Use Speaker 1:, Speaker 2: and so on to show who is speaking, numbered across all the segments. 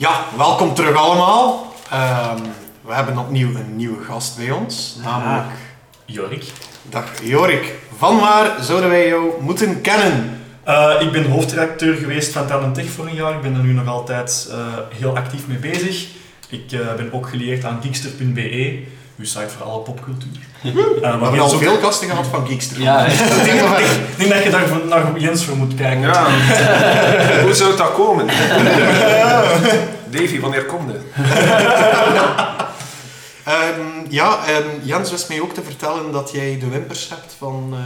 Speaker 1: Ja, welkom terug allemaal. Ehm, we hebben opnieuw een nieuwe gast bij ons, namelijk...
Speaker 2: Jorik.
Speaker 1: Dag Jorik, vanwaar zouden wij jou moeten kennen?
Speaker 2: Eh, ik ben hoofdredacteur geweest van Talent Tech voor een jaar. Ik ben er nu nog altijd eh, heel actief mee bezig. Ik eh, ben ook geleerd aan geekster.be, uw site voor alle popcultuur. Eh, waar
Speaker 1: We hebben al
Speaker 2: Jens ook-
Speaker 1: veel gasten gehad van Geekster.
Speaker 3: Ja,
Speaker 2: Ik denk, dat- ik denk dat je daar voor- naar Jens voor moet kijken.
Speaker 4: Ja, hoe zou dat komen? Davy, wanneer komt het?
Speaker 1: Ehm, ja ehm, Jens wist mij ook te vertellen dat jij de wimpers hebt van, eh,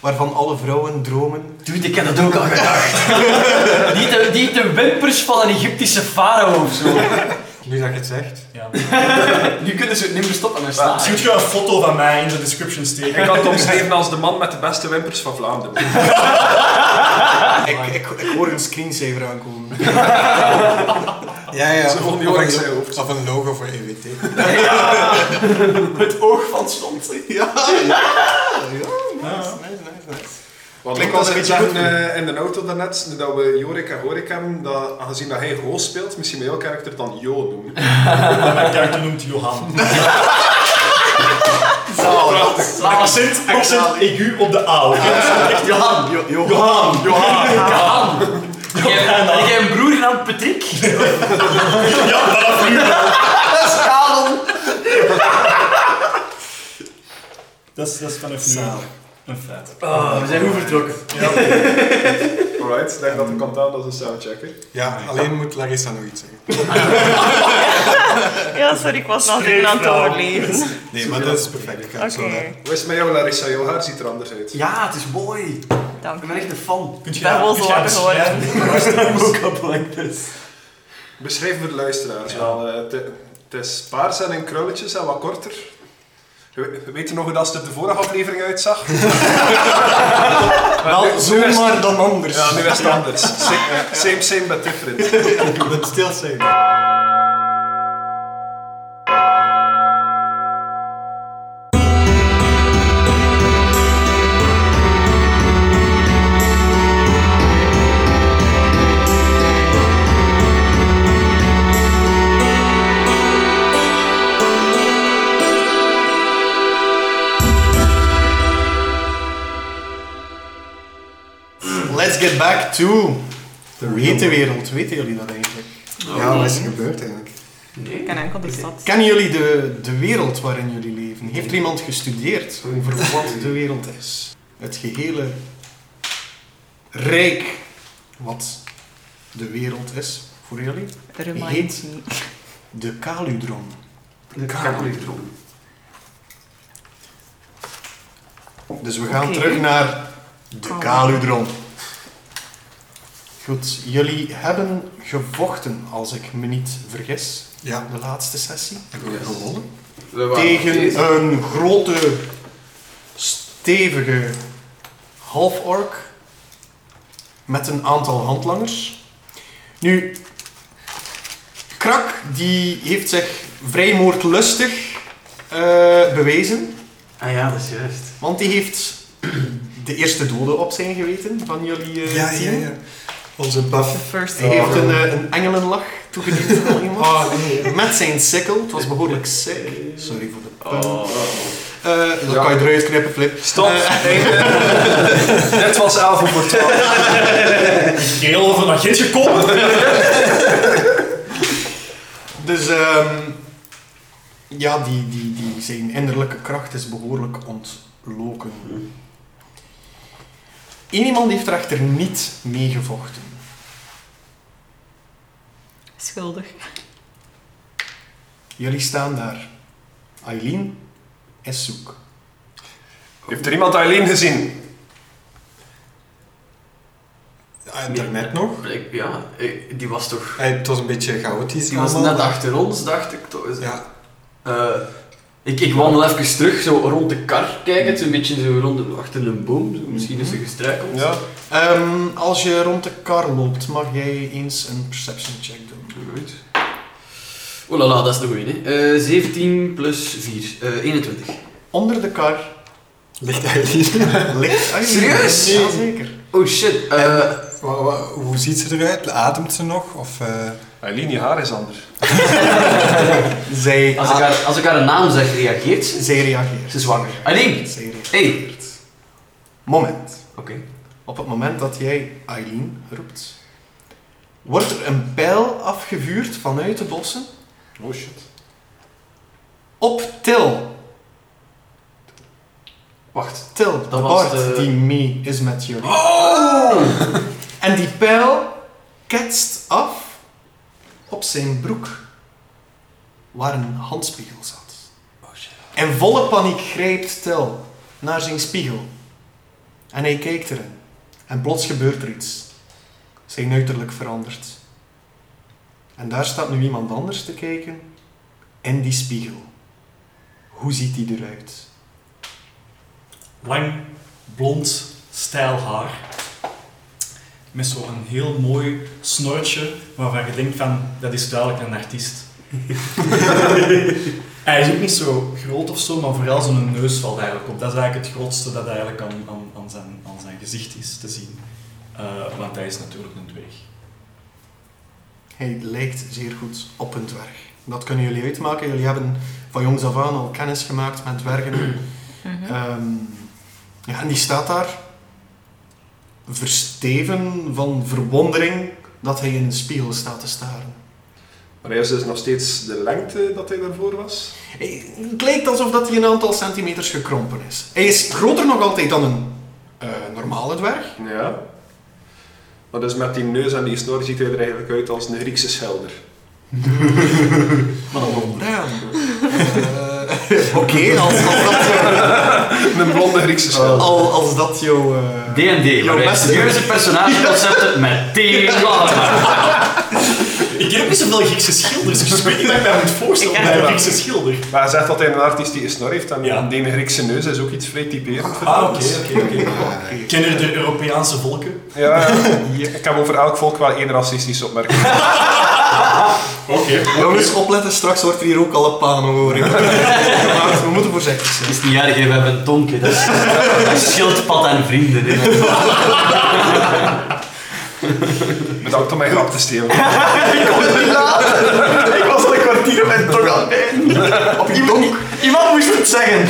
Speaker 1: waarvan alle vrouwen dromen.
Speaker 3: Dude, ik heb dat ook al gedacht. die, de, die de wimpers van een Egyptische farao of zo.
Speaker 4: Nu dat je het zegt.
Speaker 2: Ja.
Speaker 3: Nu kunnen ze het niet meer stoppen met
Speaker 2: Dus je moet gewoon een foto van mij in de description steken.
Speaker 4: Ik kan het omschrijven als de man met de beste wimpers van Vlaanderen.
Speaker 1: Ik, ik, ik hoor een screensaver aankomen.
Speaker 5: Ja, ja.
Speaker 4: Zo van die
Speaker 5: Of
Speaker 4: oren
Speaker 5: een-
Speaker 4: zijn hoofd.
Speaker 5: Of een logo voor E EWT.
Speaker 1: Het oog van stond. Ja, ja, ja. Nice, nice, nice, nice.
Speaker 4: Wat
Speaker 1: Klinkt
Speaker 4: ik
Speaker 1: als
Speaker 4: al
Speaker 1: iets
Speaker 4: iets zeggen
Speaker 1: goed.
Speaker 4: eh, in de auto daarnet, nu dat we Jorik en Horik hebben, dat, aangezien dat hij Roos speelt, misschien mijn heel karakter dan Jo noemen.
Speaker 2: Mijn karakter noemt Johan.
Speaker 1: Zalig.
Speaker 2: Accent, accent aigu op de A. oké?
Speaker 1: Johan,
Speaker 5: eh,
Speaker 1: Jo- Johan.
Speaker 2: Johan, Johan.
Speaker 3: Kaan. Ik heb, ik heb een broer genaamd Patrick.
Speaker 2: Ja, vanaf nu. Dat is, dat is vanaf nu een feit.
Speaker 3: Oh, we zijn goed vertrokken.
Speaker 4: Alright, denk dat ik kan aan als een soundchecker.
Speaker 5: Ja, alleen moet Larissa nog iets zeggen.
Speaker 6: Ja, sorry, ik was nog
Speaker 2: Spreekvrouw.
Speaker 6: dingen aan het overleven.
Speaker 5: Nee, maar dat is perfect. Ik ga het
Speaker 6: Oké,
Speaker 5: zo eh. laten.
Speaker 4: Hoe is het met jou, Larissa? Jouw haar ziet er anders uit.
Speaker 3: Ja, het is mooi.
Speaker 6: dank
Speaker 3: Ik
Speaker 6: u.
Speaker 3: ben echt een fan.
Speaker 2: Kunt je
Speaker 6: ben wel
Speaker 2: kunt
Speaker 6: zo
Speaker 2: je
Speaker 6: wakker geworden.
Speaker 2: schrijven? Woke up like this.
Speaker 4: Beschrijf voor de luisteraars
Speaker 2: Ja.
Speaker 4: wel. eh, Het het is paars en in krulletjes en wat korter. We we weten nog hoe dat ze er de vorige aflevering uitzag.
Speaker 1: Wel, zomaar dan anders.
Speaker 4: Ja, nu is het anders. Same, eh, same, same but different.
Speaker 5: But still same.
Speaker 1: Let's get back to... De wereld. Weten jullie dat eigenlijk?
Speaker 5: Ja, wat is er gebeurd eigenlijk?
Speaker 6: Ik ken enkel dus de stad.
Speaker 1: Kennen jullie de, de wereld waarin jullie leven? Heeft er iemand gestudeerd over wat de wereld is? Het gehele rijk wat de wereld is voor jullie?
Speaker 6: Remind me.
Speaker 1: De Kaludron.
Speaker 4: De Kaludron.
Speaker 1: Dus we gaan
Speaker 6: Oké.
Speaker 1: terug naar de
Speaker 6: Kaludron.
Speaker 1: Kaludron. Goed, jullie hebben gevochten, als ik me niet vergis,
Speaker 5: Ja,
Speaker 1: de laatste sessie.
Speaker 5: hebben we gewonnen.
Speaker 1: tegen een grote, stevige half-ork met een aantal handlangers. Nu, Krak die heeft zich vrij moordlustig eh, bewezen,
Speaker 3: Ah ja, dat is juist.
Speaker 1: want die heeft de eerste dode op zijn geweten van jullie eh,
Speaker 5: Ja,
Speaker 1: team.
Speaker 5: ja, ja. Onze
Speaker 6: The
Speaker 5: buff.
Speaker 6: first
Speaker 1: Hij heeft een, eh, een engelenlach toegediend aan iemand. Met zijn sikkel. Het was behoorlijk sick. Sorry voor de pun. Eh, dat
Speaker 4: Ja.
Speaker 1: kan je eruit knippen, Flip. Eh,
Speaker 4: Stop. Einde. Dit was 11 voor 12.
Speaker 2: Geel van dat geetje komen.
Speaker 1: Dus ehm, ja, die, die, die, zijn innerlijke kracht is behoorlijk ontloken. Eén iemand heeft er echter niet meegevochten.
Speaker 6: Schuldig.
Speaker 1: Jullie staan daar. Aileen is zoek.
Speaker 4: Heeft er iemand Eileen gezien?
Speaker 5: Ah, Daarnet nog.
Speaker 3: Ik- Ja, ik- die was toch...
Speaker 5: Ah, Het was een beetje chaotisch.
Speaker 3: Die was
Speaker 5: allemaal,
Speaker 3: net
Speaker 5: maar-
Speaker 3: achter ons, dacht ik toch.
Speaker 5: Ja,
Speaker 3: Eh, ik, ik wandel even terug, zo rond de kar kijken, zo een beetje zo rond, achter een boom. Zo. Misschien is ze gestruikeld.
Speaker 1: Ehm, als je rond de kar loopt, mag jij eens een perception check doen.
Speaker 3: Alright. Oh la la, dat is de goeie, hè. Eh 17 plus 4, eh 21.
Speaker 1: Onder de kar
Speaker 5: ligt Eileen.
Speaker 1: Ligt ah, uit.
Speaker 3: Serieus?
Speaker 1: Jazeker.
Speaker 3: Oh shit, eh
Speaker 5: Wa- wa- Hoe ziet ze eruit? Ademt ze nog? Of eh,
Speaker 4: Eileen, je haar is anders.
Speaker 1: Zij,
Speaker 3: Als ik, haar, als ik haar een naam zeg, reageert ze?
Speaker 1: zij reageert.
Speaker 3: Ze is zwanger. Aileen!
Speaker 1: Zij reageert.
Speaker 3: Hey!
Speaker 1: Moment.
Speaker 3: Oké.
Speaker 1: Op het moment dat jij Eileen roept, wordt er een pijl afgevuurd vanuit de bossen
Speaker 4: Oh shit.
Speaker 1: op Til.
Speaker 3: Wacht.
Speaker 1: Til, de
Speaker 3: Dat was
Speaker 1: bard
Speaker 3: de- Oh!
Speaker 1: die mee is met jullie. En die pijl ketst af op zijn broek, waar een handspiegel zat. In volle paniek grijpt Til naar zijn spiegel. En hij kijkt erin. En plots gebeurt er iets. Zijn uiterlijk verandert. En daar staat nu iemand anders te kijken. In die spiegel. Hoe ziet die eruit?
Speaker 2: Lang, blond, stijl haar. Met zo'n heel mooi snortje waarvan je denkt van, dat is duidelijk een artiest. hij is ook niet zo groot of zo, maar vooral zo'n neus valt eigenlijk op. Dat is eigenlijk het grootste dat eigenlijk aan, aan, aan, zijn, aan zijn gezicht is te zien. Eh, want hij is natuurlijk een dwerg.
Speaker 1: Hij lijkt zeer goed op een dwerg. Dat kunnen jullie uitmaken. Jullie hebben van jongs af aan al kennis gemaakt met dwergen. Ehm, ja, en die staat daar versteven van verwondering dat hij in een spiegel staat te staren.
Speaker 4: Maar hij is dus nog steeds de lengte dat hij daarvoor was.
Speaker 1: Hij- Eh, Het lijkt alsof dat hij een aantal centimeters gekrompen is. Hij is groter nog altijd dan een eh, normale dwerg.
Speaker 4: Ja. Maar dus met die neus en die snor ziet hij er eigenlijk uit als een Griekse schilder.
Speaker 1: Maar dan bruin. Eh, Oké, als, als dat... eh,
Speaker 4: Een blonde
Speaker 5: Oh.
Speaker 4: Griekse schilder.
Speaker 1: al- als dat jouw... eh,
Speaker 3: D&D,
Speaker 1: jouw
Speaker 3: waarbij
Speaker 1: beste-
Speaker 3: serieuze personageconcepten meteen lachen maken.
Speaker 2: Ik heb niet zoveel Griekse schilders, dus ik weet niet wat ik mij moet voorstellen
Speaker 6: Ik
Speaker 2: bij een
Speaker 4: wel.
Speaker 2: Griekse schilder.
Speaker 4: Maar hij zegt dat hij een artiest die een snor heeft en
Speaker 2: Ja.
Speaker 4: die Griekse neus is ook iets vrij typerend. voor
Speaker 2: Ah, oké,
Speaker 4: ons.
Speaker 2: oké, oké. Kennen de Europese volken?
Speaker 4: Ja, ja. ik heb over elk volk wel één racistische opmerking.
Speaker 2: Oké.
Speaker 1: Jongens, opletten, straks wordt er hier ook al een pano hoor. Maar we moeten voorzichtig
Speaker 3: Het
Speaker 1: zijn.
Speaker 3: is niet erg, hè, we hebben een tonkje. Dat is, dat is schildpad en vrienden. Hè.
Speaker 4: Bedankt om mijn grap te stelen.
Speaker 1: Ik was al een kwartier met toch al Op je donk. Iemand moest het zeggen.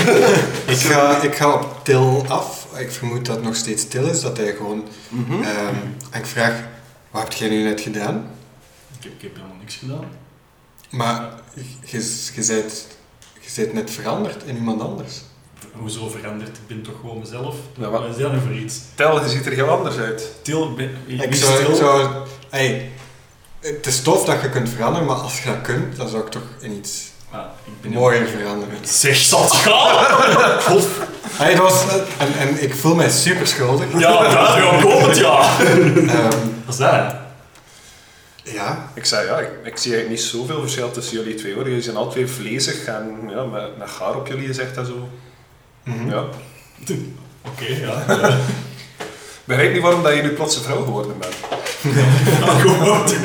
Speaker 5: Ik ga, ik ga op Til af. Ik vermoed dat het nog steeds Til is, dat hij gewoon...
Speaker 1: Mhm.
Speaker 5: ehm, en ik vraag, wat heb jij nu net gedaan?
Speaker 2: Ik heb, ik heb helemaal niks gedaan.
Speaker 5: Maar je je zijt, je zijt net veranderd in iemand anders.
Speaker 2: Hoezo veranderd? Ik ben toch gewoon mezelf?
Speaker 4: Ja,
Speaker 2: Ja,
Speaker 4: wat-
Speaker 2: wat is dat nu voor iets?
Speaker 4: Tel, je ziet er heel anders uit.
Speaker 2: Til, ik ben, ik
Speaker 5: Ik
Speaker 2: ben
Speaker 5: zou,
Speaker 2: stil.
Speaker 5: ik zou, hey, het is tof dat je kunt veranderen, maar als je dat kunt, dan zou ik toch in iets
Speaker 2: Ah, ik ben
Speaker 5: mooier veranderen.
Speaker 2: Zeg, zat gaan! God,
Speaker 5: Hey, dat was, en, en ik voel mij super schuldig.
Speaker 2: ja, dat gaat komen, ja!
Speaker 5: Ehm,
Speaker 2: Wat is dat? hè?
Speaker 5: ja,
Speaker 4: Ik zei ja, ik, ik zie eigenlijk niet zoveel verschil tussen jullie twee hoor. Jullie zijn al twee vlezig en ja, met, met haar op jullie zegt dat zo. Ja.
Speaker 2: Oké, ja.
Speaker 4: Ik begrijp niet waarom dat je nu plots een vrouw geworden bent.
Speaker 2: Ah, goed.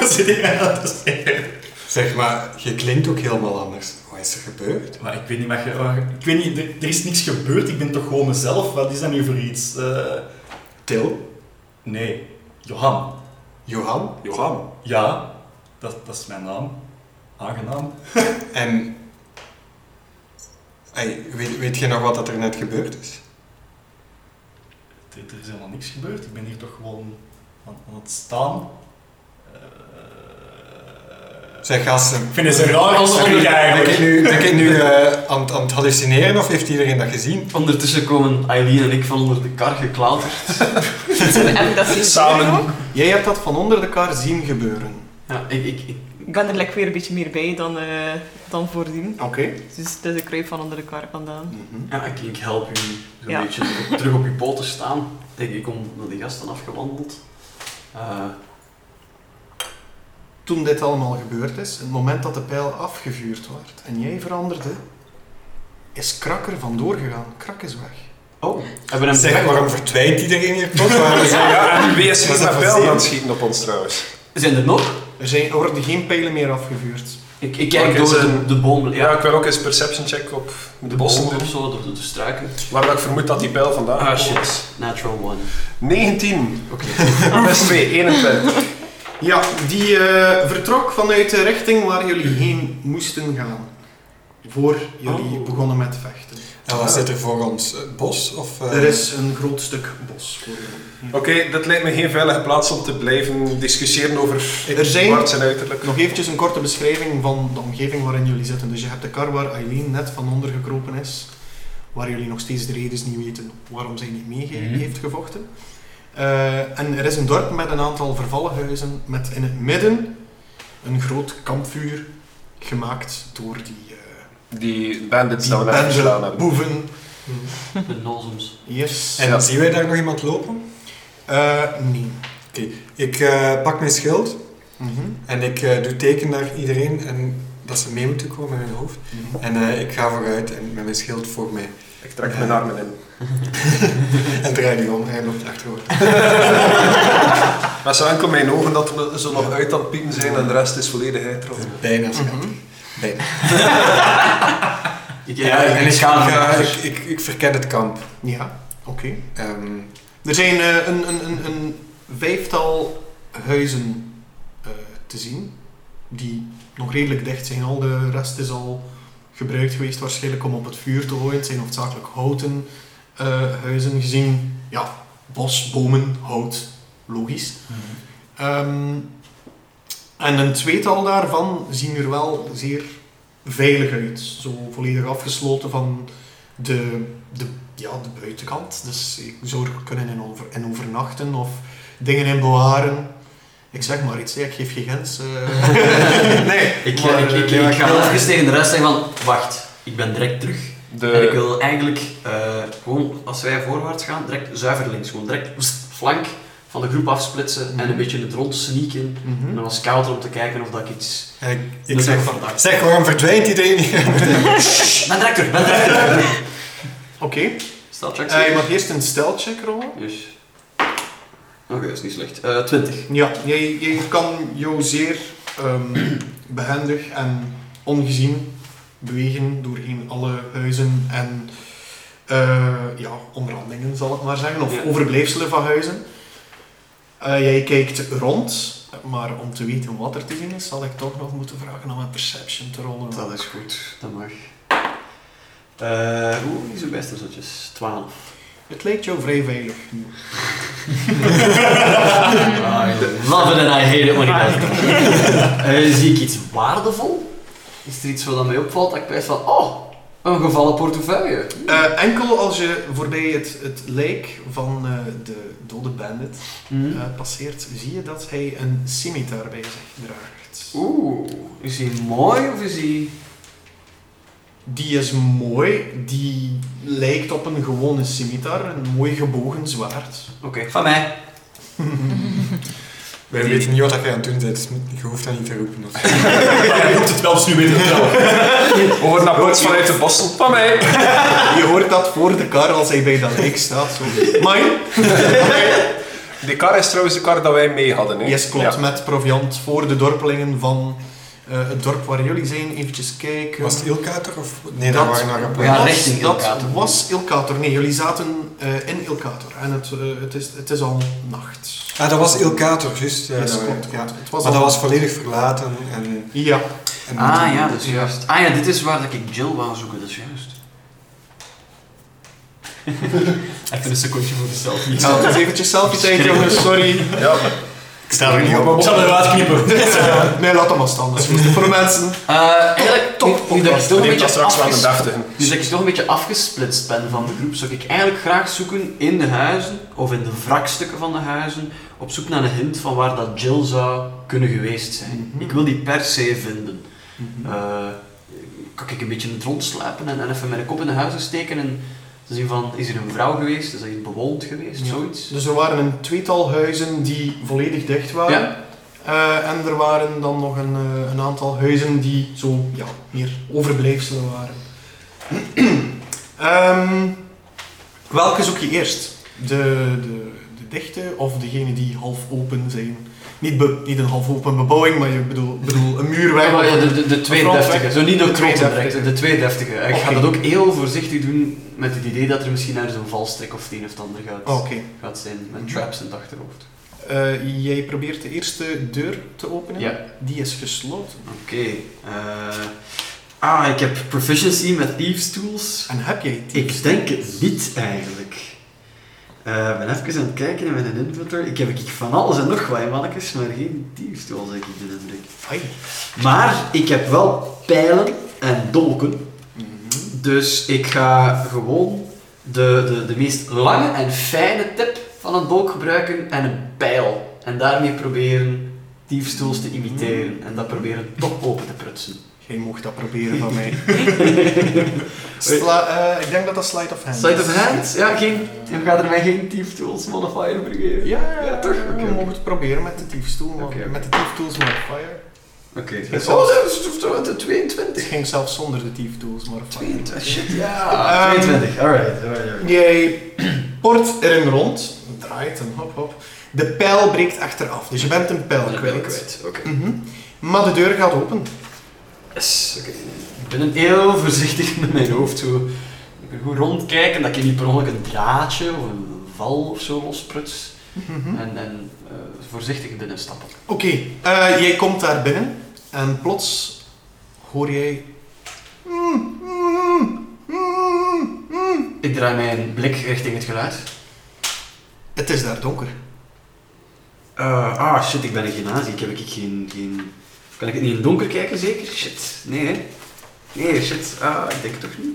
Speaker 2: Wat zit ik aan te zeggen?
Speaker 5: zeg maar, je klinkt ook helemaal anders. Wat is er gebeurd?
Speaker 2: Maar ik weet niet, wat je- wat je- ik weet niet er, er is niks gebeurd, ik ben toch gewoon mezelf? Wat is dat nu voor iets? Eh,
Speaker 5: Til,
Speaker 2: nee, Johan.
Speaker 5: Johan
Speaker 4: Johan.
Speaker 2: Ja, dat, dat is mijn naam. Aangenaam.
Speaker 5: en... Hey, weet, weet je nog wat dat er net gebeurd is?
Speaker 2: Er er is helemaal niks gebeurd. Ik ben hier toch gewoon aan, aan het staan. Eh,
Speaker 5: Zeg, gasten,
Speaker 2: ik vind het een raar gesprek
Speaker 5: ben ik
Speaker 2: eigenlijk.
Speaker 5: nu, ben ik nu eh, aan, het- aan het hallucineren of heeft iedereen dat gezien?
Speaker 3: Ondertussen komen Aileen en ik van onder de kar geklauterd.
Speaker 6: Heb ik dat zien gebeuren ook?
Speaker 1: Jij hebt dat van onder de kar zien gebeuren.
Speaker 3: Ja, ik, ik, ik,
Speaker 6: Ik ben er like, weer een beetje meer bij dan, eh, dan voordien.
Speaker 1: Oké.
Speaker 6: Dus dat is een kruip van onder de kar vandaan.
Speaker 3: ja, ik, ik help u zo'n
Speaker 6: Ja.
Speaker 3: beetje terug op uw poten staan. Denk ik kom naar de gasten afgewandeld. Eh,
Speaker 1: Toen dit allemaal gebeurd is, het moment dat de pijl afgevuurd werd en jij veranderde, is Krak er vandoor gegaan. Krak is weg.
Speaker 3: oh, hebben hem
Speaker 5: Zeg, waarom verdwijnt iedereen hier plots? Waarom is hij-
Speaker 4: Ja, en wie is
Speaker 5: Wat
Speaker 4: met
Speaker 5: is
Speaker 4: een
Speaker 5: dat voor
Speaker 4: pijl
Speaker 5: zin?
Speaker 4: aan het schieten op ons trouwens?
Speaker 3: Zijn er nog?
Speaker 1: Er, zijn, er worden geen pijlen meer afgevuurd.
Speaker 3: Ik, ik kijk
Speaker 4: Oké,
Speaker 3: door de,
Speaker 4: zijn-
Speaker 3: de bomen.
Speaker 4: Ja,
Speaker 3: Ja,
Speaker 4: ik wil ook eens perception check op de,
Speaker 3: de
Speaker 4: bossen
Speaker 3: bomen of
Speaker 4: doen.
Speaker 3: zo, door de, de struiken.
Speaker 4: Waar ik vermoed dat die pijl vandaan
Speaker 3: Ah
Speaker 4: komt.
Speaker 3: shit, natural one.
Speaker 4: 19.
Speaker 3: Oké.
Speaker 4: Plus 2, 21.
Speaker 1: Ja, die eh, vertrok vanuit de richting waar jullie heen moesten gaan. Voor jullie
Speaker 2: Oh.
Speaker 1: begonnen met vechten.
Speaker 5: En wat zit er voor ons? Eh, Bos? Of, eh,
Speaker 1: Er is een groot stuk bos voor jullie.
Speaker 4: Oké, dat lijkt me geen veilige plaats om te blijven discussiëren over
Speaker 1: Er zijn-
Speaker 4: Bart zijn uiterlijk.
Speaker 1: Nog eventjes een korte beschrijving van de omgeving waarin jullie zitten. Dus je hebt de kar waar Eileen net van onder gekropen is, waar jullie nog steeds de redens niet weten waarom zij niet mee
Speaker 2: Mhm.
Speaker 1: heeft gevochten. Eh, en er is een dorp met een aantal vervallen huizen, met in het midden een groot kampvuur gemaakt door die, eh
Speaker 4: Die bandits
Speaker 1: die
Speaker 4: die we net verslaan
Speaker 1: bende
Speaker 4: hebben.
Speaker 1: boeven.
Speaker 3: De nozems.
Speaker 1: Yes.
Speaker 5: En
Speaker 4: Ja.
Speaker 5: zien wij daar nog iemand lopen?
Speaker 1: Eh, nee.
Speaker 5: Ik eh, pak mijn schild
Speaker 1: Mhm.
Speaker 5: en ik eh, doe teken naar iedereen en dat ze mee moeten komen met hun hoofd.
Speaker 1: Mhm.
Speaker 5: En eh, ik ga vooruit en met mijn schild voor mij.
Speaker 4: Ik trek mijn armen in.
Speaker 5: en draai die om, hij loopt achterover.
Speaker 4: Maar zo enkel mijn ogen dat we zo nog uit aan het piepen zijn en de rest is volledig uitrol.
Speaker 5: Bijna schat.
Speaker 1: Mhm.
Speaker 5: Bijna.
Speaker 3: Ik,
Speaker 5: Ja, en ik,
Speaker 3: schaam
Speaker 5: ga-
Speaker 3: me.
Speaker 5: ik, ik, ik verken het kamp.
Speaker 1: Ja, oké.
Speaker 5: Ehm,
Speaker 1: Er zijn eh, een, een, een, een vijftal huizen eh, te zien, die nog redelijk dicht zijn. Al de rest is al gebruikt geweest waarschijnlijk om op het vuur te gooien. Het zijn hoofdzakelijk houten eh, huizen gezien. Ja, bos, bomen, hout, logisch. Ehm, en een tweetal daarvan zien er wel zeer veilig uit. Zo volledig afgesloten van de, de, ja, de buitenkant. Dus ik zou er kunnen in, over, in overnachten of dingen in bewaren. Ik zeg maar iets, hè. ik geef geen grens. eh. nee,
Speaker 3: Ik,
Speaker 1: maar,
Speaker 3: ik, ik,
Speaker 1: eh,
Speaker 3: ik ga wel even tegen de rest zeggen van, wacht, ik ben direct terug. En
Speaker 4: De,
Speaker 3: ik wil eigenlijk eh, gewoon, als wij voorwaarts gaan, direct zuiver links. Gewoon direct pst, flank van de groep afsplitsen en een
Speaker 1: Mhm.
Speaker 3: beetje in het rond sneaken. En
Speaker 1: Mhm.
Speaker 3: dan als scouter om te kijken of dat ik iets...
Speaker 5: en ik, ik
Speaker 3: nuttig
Speaker 5: zeg,
Speaker 3: vandaag.
Speaker 5: zeg, waarom verdwijnt iedereen
Speaker 3: Ben
Speaker 5: hier?
Speaker 3: direct terug, ben direct terug.
Speaker 1: Oké,
Speaker 3: Staat check
Speaker 1: Eh, je mag eerst een stijlcheck rollen.
Speaker 3: Yes. Dus. Oké, dat is niet slecht. Eh 20.
Speaker 1: Ja, jij, jij kan jou zeer ehm, behendig en ongezien bewegen doorheen alle huizen en eh, ja, omrandingen, zal ik maar zeggen, of
Speaker 3: Ja.
Speaker 1: overblijfselen van huizen. Eh, jij kijkt rond, maar om te weten wat er te zien is, zal ik toch nog moeten vragen om een perception te rollen.
Speaker 3: Dat is goed, dat mag. Eh Oeh, niet zo best als zatjes. 12.
Speaker 1: Het lijkt jou vrij veilig.
Speaker 3: I love it and I hate it when it happens. Eh, zie ik iets waardevol? Is er iets wat aan mij opvalt dat ik weet van, oh, een gevallen portefeuille.
Speaker 1: Eh, enkel als je voorbij het, het lijk van eh, de dode bandit
Speaker 3: Hmm.
Speaker 1: eh, passeert, zie je dat hij een scimitar bij zich draagt.
Speaker 3: Oeh, is hij mooi of is hij...
Speaker 1: Die is mooi, die lijkt op een gewone scimitar, een mooi gebogen zwaard.
Speaker 3: Oké, van mij.
Speaker 5: Wij
Speaker 3: Die-
Speaker 5: weten niet wat jij aan het doen bent, dus je hoeft dat niet te roepen. Of...
Speaker 2: Jij hoopt het wel, dus nu weet het wel.
Speaker 4: we worden applaus vanuit de bossel. Van mij!
Speaker 1: Je hoort dat voor de kar als hij bij dat lijk staat. Zo. Mine?
Speaker 4: Die kar is trouwens de kar dat wij mee hadden. Hè?
Speaker 1: Yes, klopt.
Speaker 4: Ja.
Speaker 1: Met proviant voor de dorpelingen van eh, het dorp waar jullie zijn. Eventjes kijken.
Speaker 5: Was het Ilkater? Of... Nee, dat,
Speaker 1: Dat-
Speaker 5: waren haar
Speaker 3: We gaan
Speaker 5: applaus.
Speaker 1: Was-
Speaker 3: richting
Speaker 1: dat
Speaker 3: Ilkator.
Speaker 1: was Ilkator. Nee, jullie zaten eh, in Ilkator. En het, eh, het, is, het is al nacht.
Speaker 5: Ah, dat was Ilkater, juist. eh,
Speaker 1: Yes,
Speaker 5: dat we-
Speaker 1: klopt,
Speaker 5: ja.
Speaker 1: klopt. Het was
Speaker 5: Maar dat
Speaker 1: al-
Speaker 5: was volledig verlaten. En,
Speaker 1: Ja.
Speaker 5: en
Speaker 3: Ah ja, dat is juist. Ah ja, dit is waar dat ik Jill wou zoeken, dat is juist.
Speaker 2: Even een secondje voor mezelf.
Speaker 1: Ik zal het eens dus eventjes selfie tijd, jongens. Sorry.
Speaker 5: Ik sta er niet op.
Speaker 2: Mhm. Ik zal eruit knippen.
Speaker 1: Nee, laat hem maar staan. Dat is goed voor mensen.
Speaker 3: Eh eigenlijk,
Speaker 1: top
Speaker 3: nu, nu dat ik toch een
Speaker 4: Neem
Speaker 3: beetje
Speaker 4: dat straks wel aan de
Speaker 3: afges-
Speaker 4: deftigen.
Speaker 3: Dus dat ik toch een beetje afgesplitst ben van de groep, zou ik eigenlijk graag zoeken in de huizen, of in de wrakstukken van de huizen, op zoek naar een hint van waar dat Jill zou kunnen geweest zijn.
Speaker 1: Mhm.
Speaker 3: Ik wil die per se vinden. Eh, kan ik een beetje in het rond slapen en, en even mijn kop in de huizen steken en te zien van, is er een vrouw geweest, is er iets bewoond geweest,
Speaker 1: Ja.
Speaker 3: zoiets?
Speaker 1: Dus er waren een tweetal huizen die volledig dicht waren.
Speaker 3: Ja.
Speaker 1: Eh, en er waren dan nog een, eh, een aantal huizen die zo ja, meer overblijfselen waren. Ehm, welke zoek je eerst? De, de, de dichte of degene die half open zijn? Niet, be- niet een half open bebouwing, maar ik bedoel, bedoel een muur weg.
Speaker 3: Ja, maar Oh, ja, de, de, de twee
Speaker 1: Front weg.
Speaker 3: deftige, zo niet de
Speaker 1: De twee
Speaker 3: krotten
Speaker 1: deftige.
Speaker 3: direct, de twee deftige. Ik ga
Speaker 1: Oké.
Speaker 3: dat ook heel voorzichtig doen met het idee dat er misschien ergens een valstrik of het een of het ander gaat,
Speaker 1: Oké.
Speaker 3: gaat zijn, met
Speaker 1: Mhm.
Speaker 3: traps in het achterhoofd.
Speaker 1: Eh, jij probeert de eerste deur te openen.
Speaker 3: Ja.
Speaker 1: Die is gesloten.
Speaker 3: Oké. eh, ah, ik heb proficiency met thieves tools.
Speaker 1: En heb jij die?
Speaker 3: Ik denk het niet eigenlijk. Eh, Ik ben even aan het kijken in mijn inventory. Ik heb ik van alles en nog wat in mannetjes, maar geen thieves tools heb ik in de indruk.
Speaker 1: Ai.
Speaker 3: Maar ik heb wel pijlen en dolken. Dus ik ga gewoon de, de, de meest lange en fijne tip van een dolk gebruiken en een pijl. En daarmee proberen diefstoels te imiteren. En dat proberen toch open te prutsen.
Speaker 1: Jij mocht dat proberen van mij. Sla, eh, ik denk dat dat slide of hand
Speaker 3: Sleight
Speaker 1: is.
Speaker 3: of hand? Ja, geen, we gaan er mij geen thieftools modifier proberen.
Speaker 1: Ja, ja,
Speaker 3: Ja, toch?
Speaker 1: We
Speaker 3: Oké,
Speaker 1: mogen
Speaker 3: oké.
Speaker 1: het proberen met de diefstoel. maar-
Speaker 3: Oké, oké.
Speaker 1: Met de dieftools modifier.
Speaker 3: Oké.
Speaker 1: Het is
Speaker 3: Oh, dat is toch de
Speaker 1: Het
Speaker 3: 22.
Speaker 1: ging zelfs zonder de dieftools modifier.
Speaker 3: 22, shit, ja.
Speaker 1: Ehm,
Speaker 3: 22, Ah, alright, alright, alright.
Speaker 1: Jij port erin rond, draait en hop hop. De pijl breekt achteraf, dus je bent een pijl
Speaker 3: Ik ben
Speaker 1: kwijt.
Speaker 3: het kwijt, oké.
Speaker 1: Mhm. Maar de deur gaat open.
Speaker 3: Yes, oké. Ik ben een heel voorzichtig met mijn hoofd. Zo. Ik ben goed rondkijken dat ik niet per ongeluk een draadje of een val of zo lospruts.
Speaker 1: Mhm.
Speaker 3: En, en eh, voorzichtig binnenstappen.
Speaker 1: Oké, eh, jij komt daar binnen en plots hoor jij. Mm, mm, mm, mm.
Speaker 3: Ik draai mijn blik richting het geluid.
Speaker 1: Het is daar donker.
Speaker 3: Eh, ah, shit, ik ben een gymnasie. Ik heb ik geen, geen... Kan ik het niet in het donker kijken, zeker? Shit, nee hè? Nee, shit, ah, ik denk het toch niet.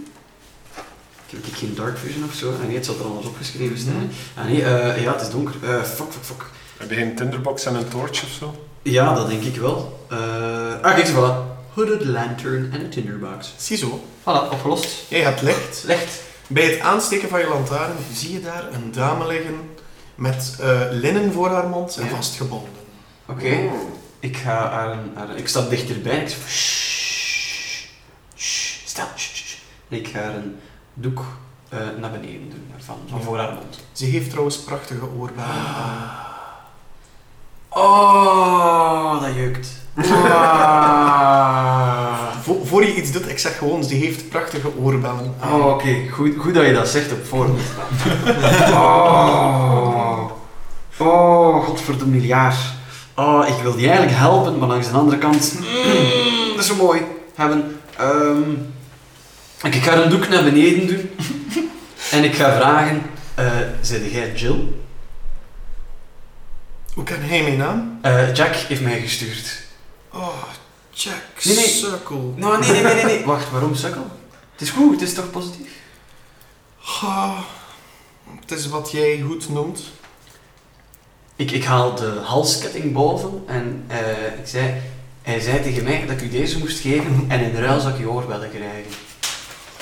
Speaker 3: Ik heb ik geen dark vision of zo? Ah, nee, het zal er anders opgeschreven staan. Ah nee, eh, ja, het is donker. Eh, fuck, fuck, fuck.
Speaker 4: Heb je geen tinderbox en een torch of zo?
Speaker 3: Ja, dat denk ik wel. Eh, ah, kijk, ze voilà. Hooded lantern en een tinderbox.
Speaker 1: Ziezo,
Speaker 3: Voilà, opgelost.
Speaker 1: jij hebt licht.
Speaker 3: Slecht.
Speaker 1: Bij het aansteken van je lantaarn zie je daar een dame liggen met eh, linnen voor haar mond en
Speaker 3: Ja.
Speaker 1: vastgebonden.
Speaker 3: Oké.
Speaker 4: Oh.
Speaker 3: Ik ga haar, een- haar een- Ik stap dichterbij en ik zeg... "Shh, shh, Stil. shh, shh." En ik ga haar een doek eh, naar beneden doen. Van, van voor haar mond. Ah.
Speaker 1: Ze heeft trouwens prachtige oorbellen. aan.
Speaker 3: Oh, dat jeukt. Ah.
Speaker 1: Vo- voor je iets doet, ik zeg gewoon, ze heeft prachtige oorbellen. aan.
Speaker 3: Oh, oké. Goed, goed dat je dat zegt op voorhand. Oh. Oh, godverdomme miljard. Oh, ik wil die eigenlijk helpen, maar langs de andere kant... Mm, dat is zo mooi. Hebben... ehm, ik ik ga een doek naar beneden doen. en ik ga vragen... eh Zijde jij Jill?
Speaker 1: Hoe kan hij mijn naam?
Speaker 3: Eh, Jack heeft mij gestuurd.
Speaker 1: Oh, Jack
Speaker 3: Nee, nee.
Speaker 1: Circle.
Speaker 3: Nou, nee, nee, nee, nee. nee. Wacht, waarom sukkel? Het is goed, het is toch positief?
Speaker 1: Ah, het is wat jij goed noemt.
Speaker 3: Ik, ik haal de halsketting boven en eh, ik zei, hij zei tegen mij dat ik u deze moest geven en in ruil zou ik je oorbellen krijgen.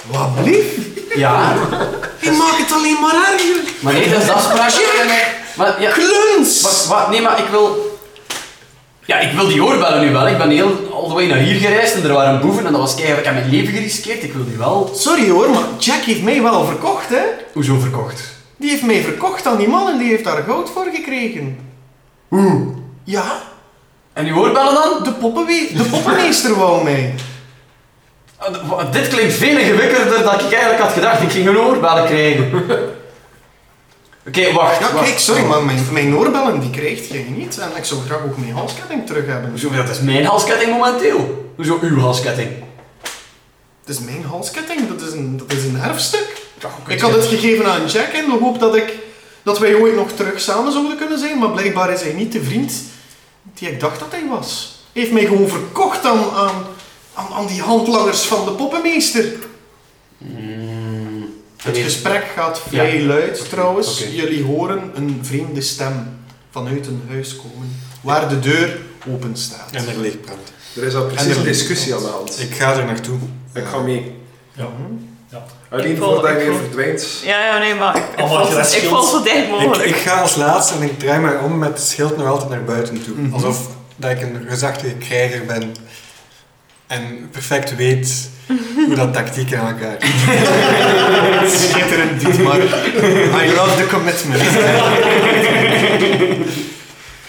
Speaker 1: Wat lief!
Speaker 3: Ja,
Speaker 1: Je maakt het alleen maar erger!
Speaker 3: maar nee, dat is de afspraak. Maar, ja,
Speaker 1: Kluns!
Speaker 3: wat, wat, nee, maar ik wil... Ja, ik wil die oorbellen nu wel. Ik ben heel all the way naar hier gereisd en er waren boeven en dat was keihard. Ik heb mijn leven geriskeerd. Ik wil die wel...
Speaker 1: Sorry hoor, maar Jack heeft mij wel verkocht, hè?
Speaker 3: Hoezo verkocht?
Speaker 1: Die heeft mij verkocht aan die man en die heeft daar goud voor gekregen.
Speaker 3: Hoe?
Speaker 1: Ja,
Speaker 3: En die oorbellen dan?
Speaker 1: de, poppenwe- de poppenmeester wou mij.
Speaker 3: Ah, d- wa- Dit klinkt veel ingewikkelder dan ik eigenlijk had gedacht. Ik ging een oorbellen krijgen. Oké, wacht.
Speaker 1: Ja,
Speaker 3: wacht.
Speaker 1: kijk, sorry, maar mijn, mijn oorbellen die krijgt jij niet. En ik zou graag ook mijn halsketting terug hebben.
Speaker 3: Hoezo, dat is mijn halsketting momenteel. Hoezo uw halsketting?
Speaker 1: Het is mijn halsketting, dat is een, dat is een erfstuk. Ik had het gegeven aan Jack in de hoop dat, ik, dat wij ooit nog terug samen zouden kunnen zijn, maar blijkbaar is hij niet de vriend die ik dacht dat hij was. Hij heeft mij gewoon verkocht aan, aan, aan, aan die handlangers van de poppenmeester.
Speaker 3: Hmm.
Speaker 1: Het gesprek gaat vrij luid trouwens.
Speaker 3: Oké.
Speaker 1: Jullie horen een vreemde stem vanuit een huis komen, waar de deur open staat.
Speaker 5: En er ligt brand.
Speaker 4: Er is al
Speaker 1: En
Speaker 4: precies
Speaker 1: er-
Speaker 4: een discussie aan de hand.
Speaker 5: Ik ga er naartoe.
Speaker 4: Ik ga mee.
Speaker 2: Ja.
Speaker 4: Alleen
Speaker 6: Ik volg,
Speaker 4: voordat
Speaker 6: ik
Speaker 4: je
Speaker 6: volg.
Speaker 4: verdwijnt.
Speaker 6: Ja, ja, nee, maar
Speaker 5: Oh,
Speaker 6: ik, ik,
Speaker 2: Allemaal
Speaker 6: val,
Speaker 2: gelijk
Speaker 6: ik val
Speaker 2: schild.
Speaker 6: zo dicht
Speaker 5: Ik,
Speaker 6: mogelijk.
Speaker 5: ik ga als laatste en ik draai mij om met het schild nog altijd naar buiten toe.
Speaker 1: Mhm.
Speaker 5: Alsof dat ik een gezagte krijger ben en perfect weet hoe dat tactiek in elkaar zit.
Speaker 1: Schitterend, Dietmar. I love the commitment.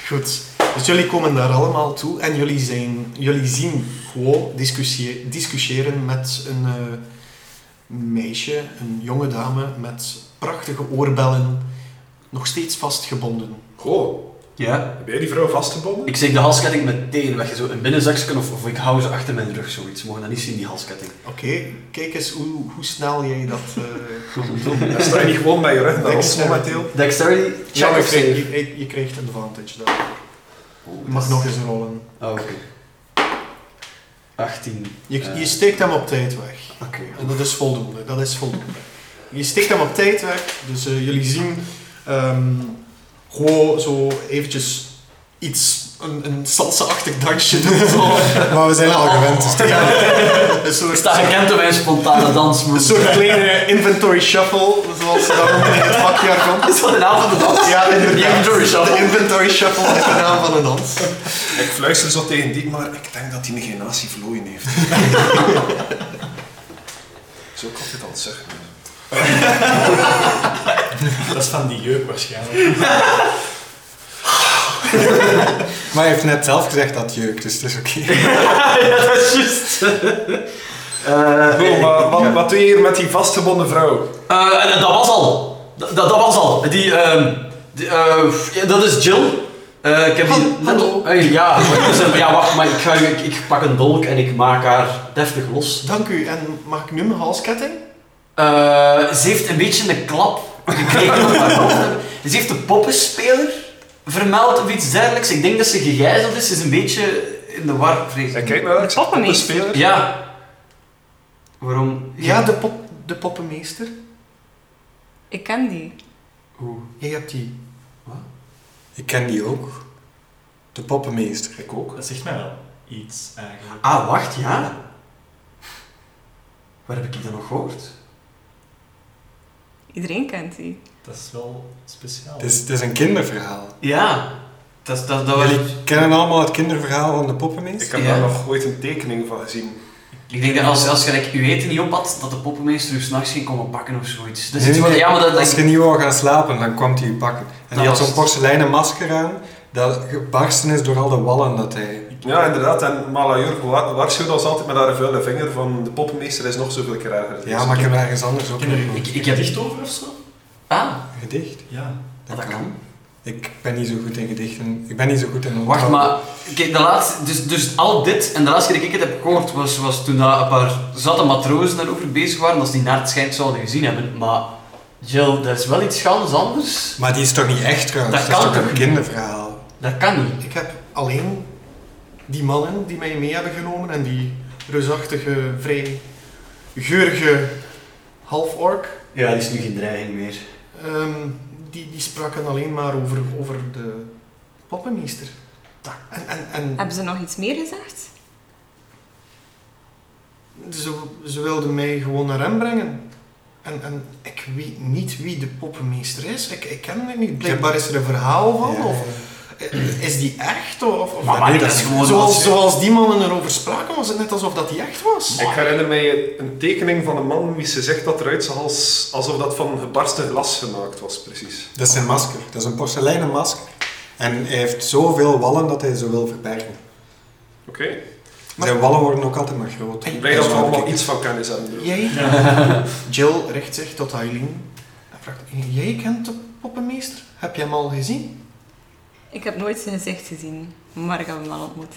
Speaker 1: Goed. Dus jullie komen daar allemaal toe en jullie, zijn, jullie zien gewoon discussie- discussiëren met een eh, meisje, een jonge dame met prachtige oorbellen, nog steeds vastgebonden.
Speaker 4: Goh.
Speaker 3: Ja.
Speaker 4: Heb jij die vrouw vastgebonden?
Speaker 3: Ik steek de halsketting meteen weg. Zo een binnenzakje of, of ik hou ze achter mijn rug, zoiets. Ze mogen dat niet zien, die halsketting.
Speaker 1: Oké, kijk eens hoe, hoe snel jij dat eh kunt doen.
Speaker 4: Dan sta je niet gewoon bij je rug naar ons
Speaker 1: Dexterity.
Speaker 4: momenteel.
Speaker 3: Dexterity, check
Speaker 1: Ja, maar je
Speaker 3: of save.
Speaker 1: krijgt, je, je krijgt een advantage daarvoor.
Speaker 3: Oh,
Speaker 1: Je mag nog eens rollen.
Speaker 3: Oh, oké. 18.
Speaker 1: Je,
Speaker 3: Eh.
Speaker 1: je steekt hem op tijd weg.
Speaker 3: Oké.
Speaker 1: En dat is voldoende, dat is voldoende. Je steekt hem op tijd weg, dus eh, jullie zien ehm, gewoon zo eventjes iets, een, een salsa-achtig dansje doen. Zo.
Speaker 5: Maar we zijn al gewend. Dus
Speaker 1: Ja, een soort,
Speaker 3: Ik sta gekend op mijn spontane
Speaker 1: een
Speaker 3: dansmoes.
Speaker 1: soort kleine inventory shuffle, zoals ze dat noemen in het vakjargon.
Speaker 3: Is dat de naam van de dans?
Speaker 1: Ja,
Speaker 3: De
Speaker 1: inderdaad.
Speaker 3: inventory shuffle.
Speaker 1: De inventory shuffle is de naam van de dans.
Speaker 4: Ik fluister zo tegen die, maar ik denk dat hij een generatie verloren heeft. Zo kan ik het al zeggen.
Speaker 2: Dat is van die jeuk waarschijnlijk.
Speaker 5: Maar je heeft net zelf gezegd dat jeukt, dus het is oké.
Speaker 3: ja, dat is juist. Eh,
Speaker 4: Bro, maar wat, wat doe je hier met die vastgebonden vrouw?
Speaker 3: eh, dat was al. Dat, dat was al. Die, ehm, die, eh, ja, dat is Jill. Eh, ik heb die...
Speaker 1: Hallo.
Speaker 3: Eh, ja, maar ik zeg, ja, wacht, maar ik, ga, ik, ik pak een dolk en ik maak haar deftig los.
Speaker 1: Dank u, en mag ik nu mijn halsketting?
Speaker 3: Eh, ze heeft een beetje een klap gekregen op haar hoofd. Ze heeft de poppenspeler vermeld of iets dergelijks. Ik denk dat ze gegijzeld is. Ze is een beetje in de war, vrees
Speaker 4: En
Speaker 3: ik.
Speaker 4: kijk naar
Speaker 6: Papa
Speaker 4: de
Speaker 6: niet.
Speaker 4: speler.
Speaker 3: Ja. Waarom?
Speaker 1: Ja, de, pop, de poppenmeester.
Speaker 6: Ik ken die.
Speaker 3: Hoe?
Speaker 1: Jij hebt die.
Speaker 5: Ik ken die ook. De poppenmeester.
Speaker 4: Ik ook.
Speaker 2: Dat zegt mij wel iets eigenlijk.
Speaker 3: Ah, wacht, ja. Waar heb ik die dan nog gehoord?
Speaker 6: Iedereen kent die.
Speaker 2: Dat is wel speciaal.
Speaker 5: Het is, het is een kinderverhaal.
Speaker 3: Ja. Dat, dat, dat was...
Speaker 5: Jullie kennen allemaal het kinderverhaal van de poppenmeester?
Speaker 4: Ik heb
Speaker 3: Ja.
Speaker 4: daar nog ooit een tekening van gezien.
Speaker 3: Ik denk dat als, als je like, uw eten niet op had, dat de poppenmeester u s'nachts ging komen pakken of zoiets. Dat is
Speaker 5: Nee,
Speaker 3: iets wat...
Speaker 5: nee,
Speaker 3: Dus Ja, maar dat...
Speaker 5: Als je niet wou gaan slapen, dan kwam hij je pakken. En
Speaker 3: Dat
Speaker 5: die
Speaker 3: was
Speaker 5: had zo'n
Speaker 3: het.
Speaker 5: porseleinen masker aan, dat gebarsten is door al de wallen dat hij...
Speaker 4: Ja, inderdaad. En Malajur wa- waarschuwde ons altijd met haar vuile vinger van de poppenmeester is nog zoveel keer erger.
Speaker 5: Ja, maar ik heb ergens anders ook
Speaker 2: Kinderen-
Speaker 5: een
Speaker 3: Ik, ik heb...
Speaker 2: Dicht over of zo?
Speaker 3: Ah,
Speaker 5: gedicht.
Speaker 2: Ja.
Speaker 5: Dat,
Speaker 3: dat
Speaker 5: kan.
Speaker 3: kan.
Speaker 5: Ik ben niet zo goed in gedichten. Ik ben niet zo goed in
Speaker 3: Wacht,
Speaker 5: onthouden.
Speaker 3: maar... Kijk, de laatste... Dus, dus al dit, en de laatste keer dat ik het heb gehoord, was, was toen dat een paar zatte matrozen daarover bezig waren, dat ze die naar het schijnt zouden gezien hebben. Maar... Jill, dat is wel iets gans anders.
Speaker 5: Maar die is toch niet echt trouwens?
Speaker 3: Dat
Speaker 5: Dat, is
Speaker 3: kan
Speaker 5: toch een
Speaker 3: toch?
Speaker 5: kinderverhaal?
Speaker 3: Dat kan niet.
Speaker 1: Ik heb alleen die mannen die mij mee hebben genomen en die reusachtige, vrij geurige half-orc,
Speaker 3: Ja, dat is nu geen dreiging meer.
Speaker 1: ehm, die, die spraken alleen maar over, over de poppenmeester. Da- En, en, en
Speaker 6: Hebben ze nog iets meer gezegd?
Speaker 1: ze, ze wilden mij gewoon naar hem brengen. En, en ik weet niet wie de poppenmeester is. Ik, ik ken hem niet. Blijkbaar is er een verhaal
Speaker 3: Oh.
Speaker 1: van.
Speaker 5: Ja.
Speaker 1: Of, eh, is die echt? Of, of
Speaker 3: Maar, maar dat is gewoon...
Speaker 1: Zoals,
Speaker 3: als-
Speaker 1: zoals die mannen erover spraken, was het net alsof dat die echt was.
Speaker 4: Ik herinner mij een tekening van een man wie ze zegt dat eruit zag als, alsof dat van gebarsten glas gemaakt was, precies.
Speaker 5: Dat is zijn masker. Dat is een porseleinen masker. En hij heeft zoveel wallen dat hij ze wil verbergen.
Speaker 4: Oké.
Speaker 1: Maar-
Speaker 5: Zijn wallen worden ook altijd maar groter.
Speaker 1: En-
Speaker 4: Blij dat we
Speaker 5: Dus
Speaker 4: allemaal
Speaker 5: ik-
Speaker 4: iets van kennis hebben. bro.
Speaker 1: Jij? Jill richt zich tot Eileen en vraagt: Jij kent de poppenmeester? Heb je hem al gezien?
Speaker 6: Ik heb nooit zijn gezicht gezien, maar ik heb hem al ontmoet.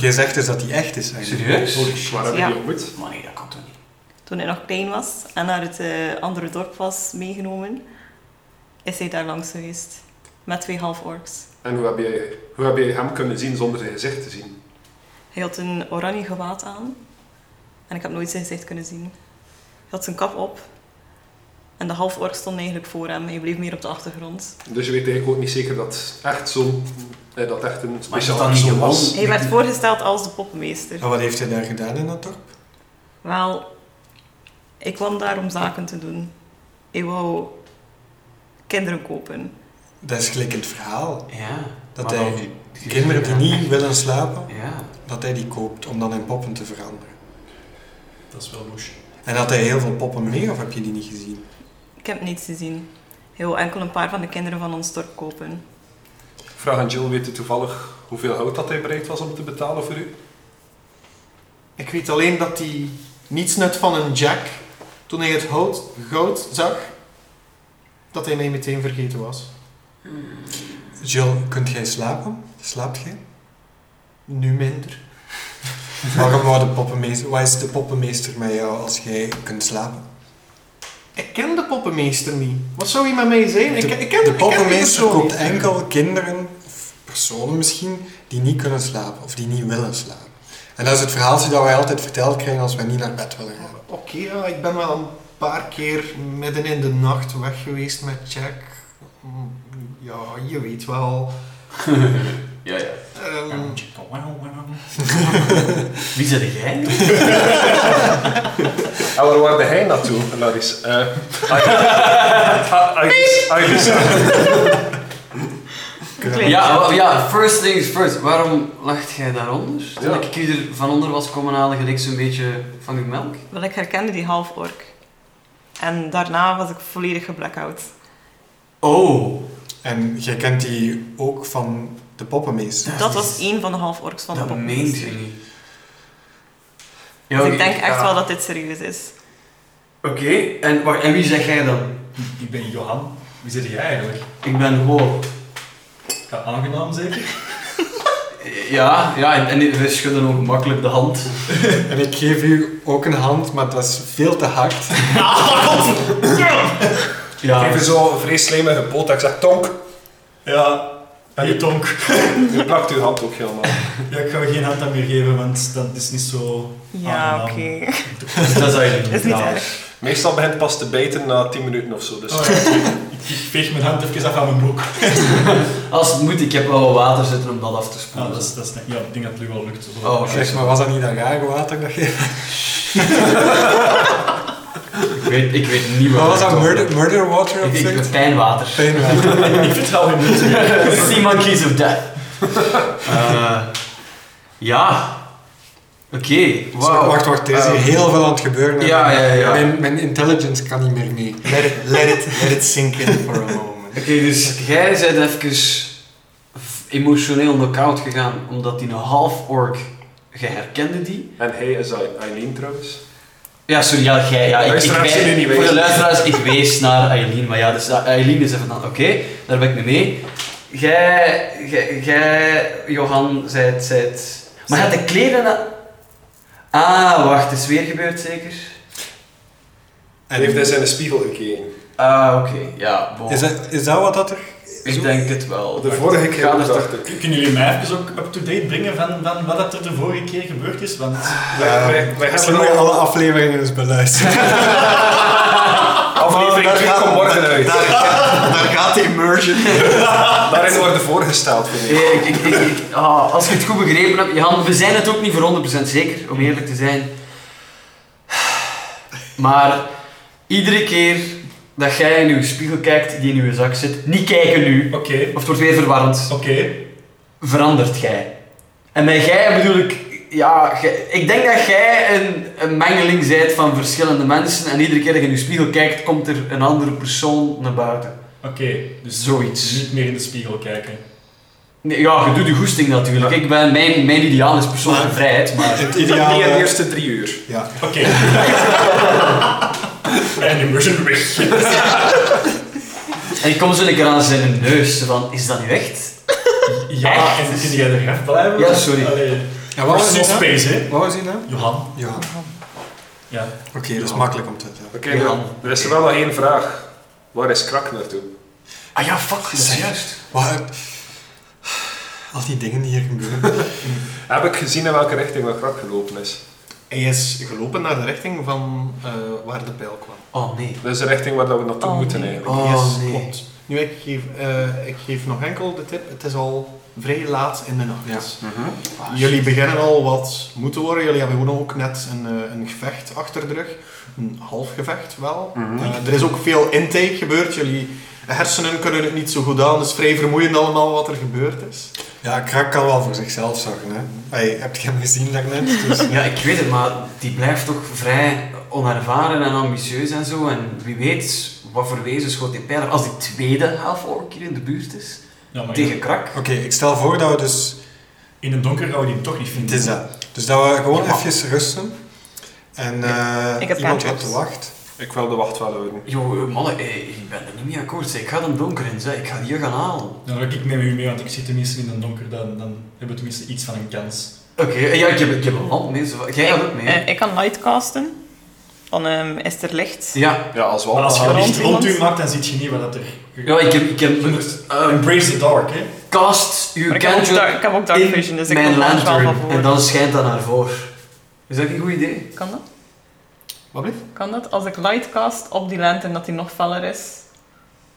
Speaker 5: Jij zegt dus dat hij echt is eigenlijk.
Speaker 3: Serieus?
Speaker 4: Holy shit, waar hebben
Speaker 6: Ja.
Speaker 4: die ontmoet?
Speaker 3: Maar nee, dat kan toch niet.
Speaker 6: Toen hij nog klein was en naar het eh, andere dorp was meegenomen, is hij daar langs geweest. Met twee half-orks.
Speaker 4: En hoe heb, jij, hoe heb jij hem kunnen zien zonder zijn gezicht te zien?
Speaker 6: Hij had een oranje gewaad aan en ik heb nooit zijn gezicht kunnen zien. Hij had zijn kap op en de half-ork stond eigenlijk voor hem. Hij bleef meer op de achtergrond.
Speaker 4: Dus je weet eigenlijk ook niet zeker dat echt zo'n... eh, dat echt een
Speaker 3: Maar is
Speaker 4: speciaal
Speaker 3: dat dan niet
Speaker 4: persoon
Speaker 3: gewoon...
Speaker 4: was.
Speaker 6: Hij werd voorgesteld als de poppenmeester.
Speaker 5: En wat heeft hij daar gedaan in dat dorp?
Speaker 6: Wel, ik kwam daar om zaken te doen. Ik wou kinderen kopen.
Speaker 5: Dat is gelijk in het verhaal.
Speaker 3: Ja.
Speaker 5: Dat
Speaker 3: maar
Speaker 5: hij
Speaker 3: dan-
Speaker 5: kinderen die niet willen slapen,
Speaker 3: Ja.
Speaker 5: dat hij die koopt om dan in poppen te veranderen.
Speaker 2: Dat is wel moes.
Speaker 5: En had hij heel veel poppen mee of heb je die niet gezien?
Speaker 6: Ik heb niets te zien. Hij wou enkel een paar van de kinderen van ons dorp kopen.
Speaker 4: Vraag aan Jill, weet je toevallig hoeveel hout dat hij bereid was om te betalen voor u?
Speaker 1: Ik weet alleen dat hij niets net van een jack. Toen hij het hout, goud zag, dat hij mij meteen vergeten was.
Speaker 5: Jill, kunt jij slapen? Slaapt jij?
Speaker 1: Nu minder.
Speaker 5: Waarom wou de poppenmeester, waar is de poppenmeester met jou als jij kunt slapen?
Speaker 1: Ik ken de poppenmeester niet. Wat zou hij met mij zijn? ik, ik ken
Speaker 5: de
Speaker 1: ik ken die
Speaker 5: poppenmeester
Speaker 1: persoon
Speaker 5: koopt
Speaker 1: niet.
Speaker 5: enkel kinderen, of personen misschien, die niet kunnen slapen of die niet willen slapen. En dat is het verhaaltje dat wij altijd verteld krijgen als wij niet naar bed willen gaan.
Speaker 1: Oké, ja, ik ben wel een paar keer midden in de nacht weg geweest met Jack. Mm, Ja, je weet wel.
Speaker 3: Ja, ja.
Speaker 1: Ehm,
Speaker 3: Wie zijn jij?
Speaker 4: En waar waarde hij naartoe, Laris? Eh, I- I- Iris. Iris.
Speaker 6: Klein.
Speaker 3: Ja, wa- ja, first things first. Waarom lacht jij daaronder? Toen
Speaker 4: Ja.
Speaker 3: ik hier van onder was komen halen, gelijk zo'n beetje van uw melk.
Speaker 6: Wel, ik herkende die half-ork. En daarna was ik volledig geblackout.
Speaker 3: Oh.
Speaker 5: En jij kent die ook van de poppenmeester.
Speaker 6: Dat
Speaker 3: dus-
Speaker 6: was één van de half-orks van de
Speaker 3: Dat
Speaker 6: poppenmeester.
Speaker 3: meent je niet. Ja,
Speaker 6: Dus
Speaker 3: oké,
Speaker 6: ik denk echt
Speaker 3: ja.
Speaker 6: wel dat dit serieus is.
Speaker 3: Oké, en, wacht, en wie zeg jij dan?
Speaker 2: Ik ben Johan. Wie zit jij eigenlijk?
Speaker 3: Ik ben gewoon...
Speaker 2: Ja, aangenaam zeker?
Speaker 3: Ja, ja, en, en we schudden ook makkelijk de hand.
Speaker 5: En ik geef u ook een hand, maar dat is veel te hard.
Speaker 4: Ik
Speaker 3: Ja.
Speaker 4: Geef je zo een vrees slijmige poot en ik zeg tonk.
Speaker 2: Ja, en je tonk.
Speaker 4: Je plakt uw hand ook helemaal.
Speaker 2: Ja, ik ga je geen hand aan meer geven, want dat is niet zo...
Speaker 3: Ah,
Speaker 6: Ja, oké.
Speaker 2: aangenaam.
Speaker 3: Dat is eigenlijk
Speaker 6: Is niet
Speaker 3: raar.
Speaker 6: erg.
Speaker 4: Meestal begint pas te bijten na 10 minuten of zo. Dus
Speaker 2: Oh, ja. ik, ik veeg mijn hand even af aan mijn broek.
Speaker 3: Als het moet, ik heb wel wat water zitten om dat af te spoelen.
Speaker 2: Ah, dat is, dat is, ja, ik denk dat het nu wel lukt. Zo.
Speaker 3: Oh, oké.
Speaker 5: Zeg maar, was dat niet dat rare water dat je...
Speaker 3: ik, weet, ik weet niet
Speaker 5: Wat
Speaker 3: waar
Speaker 5: was dat?
Speaker 3: het over-
Speaker 5: Murder, murder water of
Speaker 3: Ik, ik,
Speaker 5: zoiets?
Speaker 3: pijnwater.
Speaker 5: Pijnwater.
Speaker 2: Ik vertrouw je niet.
Speaker 3: Sea monkeys of death. Eh, ja. Oké,
Speaker 5: Zo,
Speaker 3: wauw.
Speaker 5: Wacht, wacht, Dus er is hier
Speaker 3: Ehm,
Speaker 5: heel veel aan het gebeuren.
Speaker 3: Ja, ja, ja.
Speaker 5: Mijn, mijn intelligence kan niet meer mee.
Speaker 1: let, it, let, it, let it sink in for a moment.
Speaker 3: Oké, dus jij bent even f- emotioneel knock-out gegaan omdat die een half-ork... Jij herkende die?
Speaker 4: En hij is I- Eileen trouwens.
Speaker 3: Ja, sorry, ja, jij. Ja, ik, ik
Speaker 4: Luisteraars
Speaker 3: wij-
Speaker 4: zullen niet
Speaker 3: voor de
Speaker 4: weten.
Speaker 3: luisteraars, ik wees naar Eileen. Maar ja, dus dat- Eileen is even dan, oké, daar ben ik mee mee. Jij, jij, jij, Johan, zijt, zijt... Maar gaat de kleren... na- Ah, wacht, het is weer gebeurd zeker?
Speaker 4: En heeft hij zijn spiegel gekeken.
Speaker 3: Ah, oké, ja, bon.
Speaker 5: Is dat, is dat wat dat er...
Speaker 3: Ik denk het wel.
Speaker 4: De vorige keer
Speaker 3: Ga er toch-
Speaker 4: dus dacht ik.
Speaker 2: Kunnen jullie mij even ook up-to-date brengen van, van wat dat er de vorige keer gebeurd is? Want
Speaker 4: Wij, wij, wij
Speaker 5: Misschien
Speaker 4: hebben
Speaker 5: moet je
Speaker 4: al
Speaker 5: alle afleveringen eens beluisteren.
Speaker 4: aflevering 3 van morgen uit.
Speaker 1: Daar, gaat- daar gaat de immersion.
Speaker 4: Daarin worden voorgesteld, vind ik.
Speaker 3: Nee, ik, ik, ik, ik- ah, als ik het goed begrepen heb, Johan, we zijn het ook niet voor 100% zeker, om eerlijk te zijn. Maar iedere keer dat jij in uw spiegel kijkt die in uw zak zit, niet kijken nu,
Speaker 2: oké,
Speaker 3: of het wordt weer verwarrend,
Speaker 2: oké.
Speaker 3: verandert jij. En bij jij bedoel ik, ja, jij- ik denk dat jij een, een mengeling zijt van verschillende mensen en iedere keer dat je in uw spiegel kijkt, komt er een andere persoon naar buiten.
Speaker 2: Oké, dus
Speaker 3: Zoiets.
Speaker 2: niet meer in de spiegel kijken.
Speaker 3: Nee, ja, je doet je goesting natuurlijk. Ik ben, mijn, mijn ideaal is persoonlijke vrijheid, maar...
Speaker 4: Niet
Speaker 5: Het
Speaker 4: in de
Speaker 5: ideale...
Speaker 4: eerste drie uur.
Speaker 5: Ja.
Speaker 2: Oké. en immersion weg.
Speaker 3: En ik kom zo een keer aan zijn neus, zo van, is dat nu echt?
Speaker 2: Ja, Ah, en kun jij er echt blijven?
Speaker 3: Ja, sorry.
Speaker 2: Allee,
Speaker 5: En wat was
Speaker 2: personal
Speaker 5: die naam?
Speaker 2: space, hè?
Speaker 5: Wat was die naam?
Speaker 2: Johan.
Speaker 5: Ja. Oké,
Speaker 2: Ja.
Speaker 5: dat is makkelijk om te zeggen.
Speaker 4: Oké, dan. er is er wel nog één vraag. Waar is Krak naartoe?
Speaker 3: Ah ja, fuck, dat is
Speaker 5: Zeg.
Speaker 3: juist.
Speaker 5: Wat... Al die dingen die hier gebeuren.
Speaker 4: Heb ik gezien in welke richting dat Krak gelopen is?
Speaker 1: Hij is gelopen naar de richting van eh, waar de pijl kwam.
Speaker 3: Oh nee.
Speaker 4: Dat is de richting waar dat we naartoe
Speaker 6: Oh,
Speaker 4: moeten
Speaker 6: nee.
Speaker 4: eigenlijk.
Speaker 3: Oh
Speaker 1: yes,
Speaker 3: nee.
Speaker 1: klopt. Nu, ik geef, eh, ik geef nog enkel de tip. Het is al vrij laat in de nacht. Ah,
Speaker 5: Ja.
Speaker 1: mhm. Jullie beginnen al wat moeten worden. Jullie hebben gewoon ook net een, eh, een gevecht achter de rug. Een half gevecht wel.
Speaker 4: Mhm.
Speaker 1: Eh, er is ook veel intake gebeurd. Jullie hersenen kunnen het niet zo goed aan. Het is vrij vermoeiend allemaal wat er gebeurd is.
Speaker 5: Ja, Krak kan wel voor zichzelf zorgen, hè. Hey, heb je hem gezien daarnet? Dus...
Speaker 3: Ja, ik weet het, maar die blijft toch vrij onervaren en ambitieus en zo. En wie weet wat voor wezen schoot die pijler als die tweede half ork hier in de buurt is.
Speaker 2: Ja, maar
Speaker 3: Tegen krak.
Speaker 5: Oké, ik stel voor dat we dus
Speaker 2: in het donker gaan we die toch niet
Speaker 5: Het
Speaker 2: vinden.
Speaker 5: is dat. Dus dat we gewoon
Speaker 3: Ja.
Speaker 5: even rusten. En eh,
Speaker 6: Ik heb
Speaker 5: iemand
Speaker 6: pancakes.
Speaker 5: gaat te wacht.
Speaker 4: Ik wil de wacht wel houden.
Speaker 3: Yo, eh, mannen, eh, ik ben er niet mee akkoord. zeg. Ik ga dan donker in, zeg. ik ga die hier gaan halen.
Speaker 2: Nou, dan ga ik neem u mee, want ik zit tenminste in het donker, dan, dan hebben we tenminste iets van een kans.
Speaker 3: Oké, eh, ja, ik heb, ik heb een lamp mee. zo- Jij gaat ook mee. hè?
Speaker 6: Eh, ik kan lightcasten. Dan ehm, is er licht.
Speaker 3: Ja.
Speaker 4: Ja, als we
Speaker 2: Maar
Speaker 4: al
Speaker 2: als je
Speaker 6: rond
Speaker 2: licht rond u
Speaker 6: iemand?
Speaker 2: maakt, dan zie je niet wat dat er...
Speaker 3: Ja, ik heb... Ik heb
Speaker 2: Je moet
Speaker 3: eh,
Speaker 2: Embrace the dark, hè.
Speaker 3: cast uw
Speaker 6: Maar ik heb, ook dark,
Speaker 3: cantrip
Speaker 6: ik heb ook dark
Speaker 3: in
Speaker 6: vision, dus ik
Speaker 3: mijn
Speaker 6: kan daar wel van
Speaker 3: lantern.
Speaker 6: voor.
Speaker 3: En dan schijnt dat naar voren. Is dat een goed idee?
Speaker 6: Kan dat?
Speaker 1: Wat blijft?
Speaker 6: Kan dat? Als ik lightcast op die lantern, dat die nog feller is?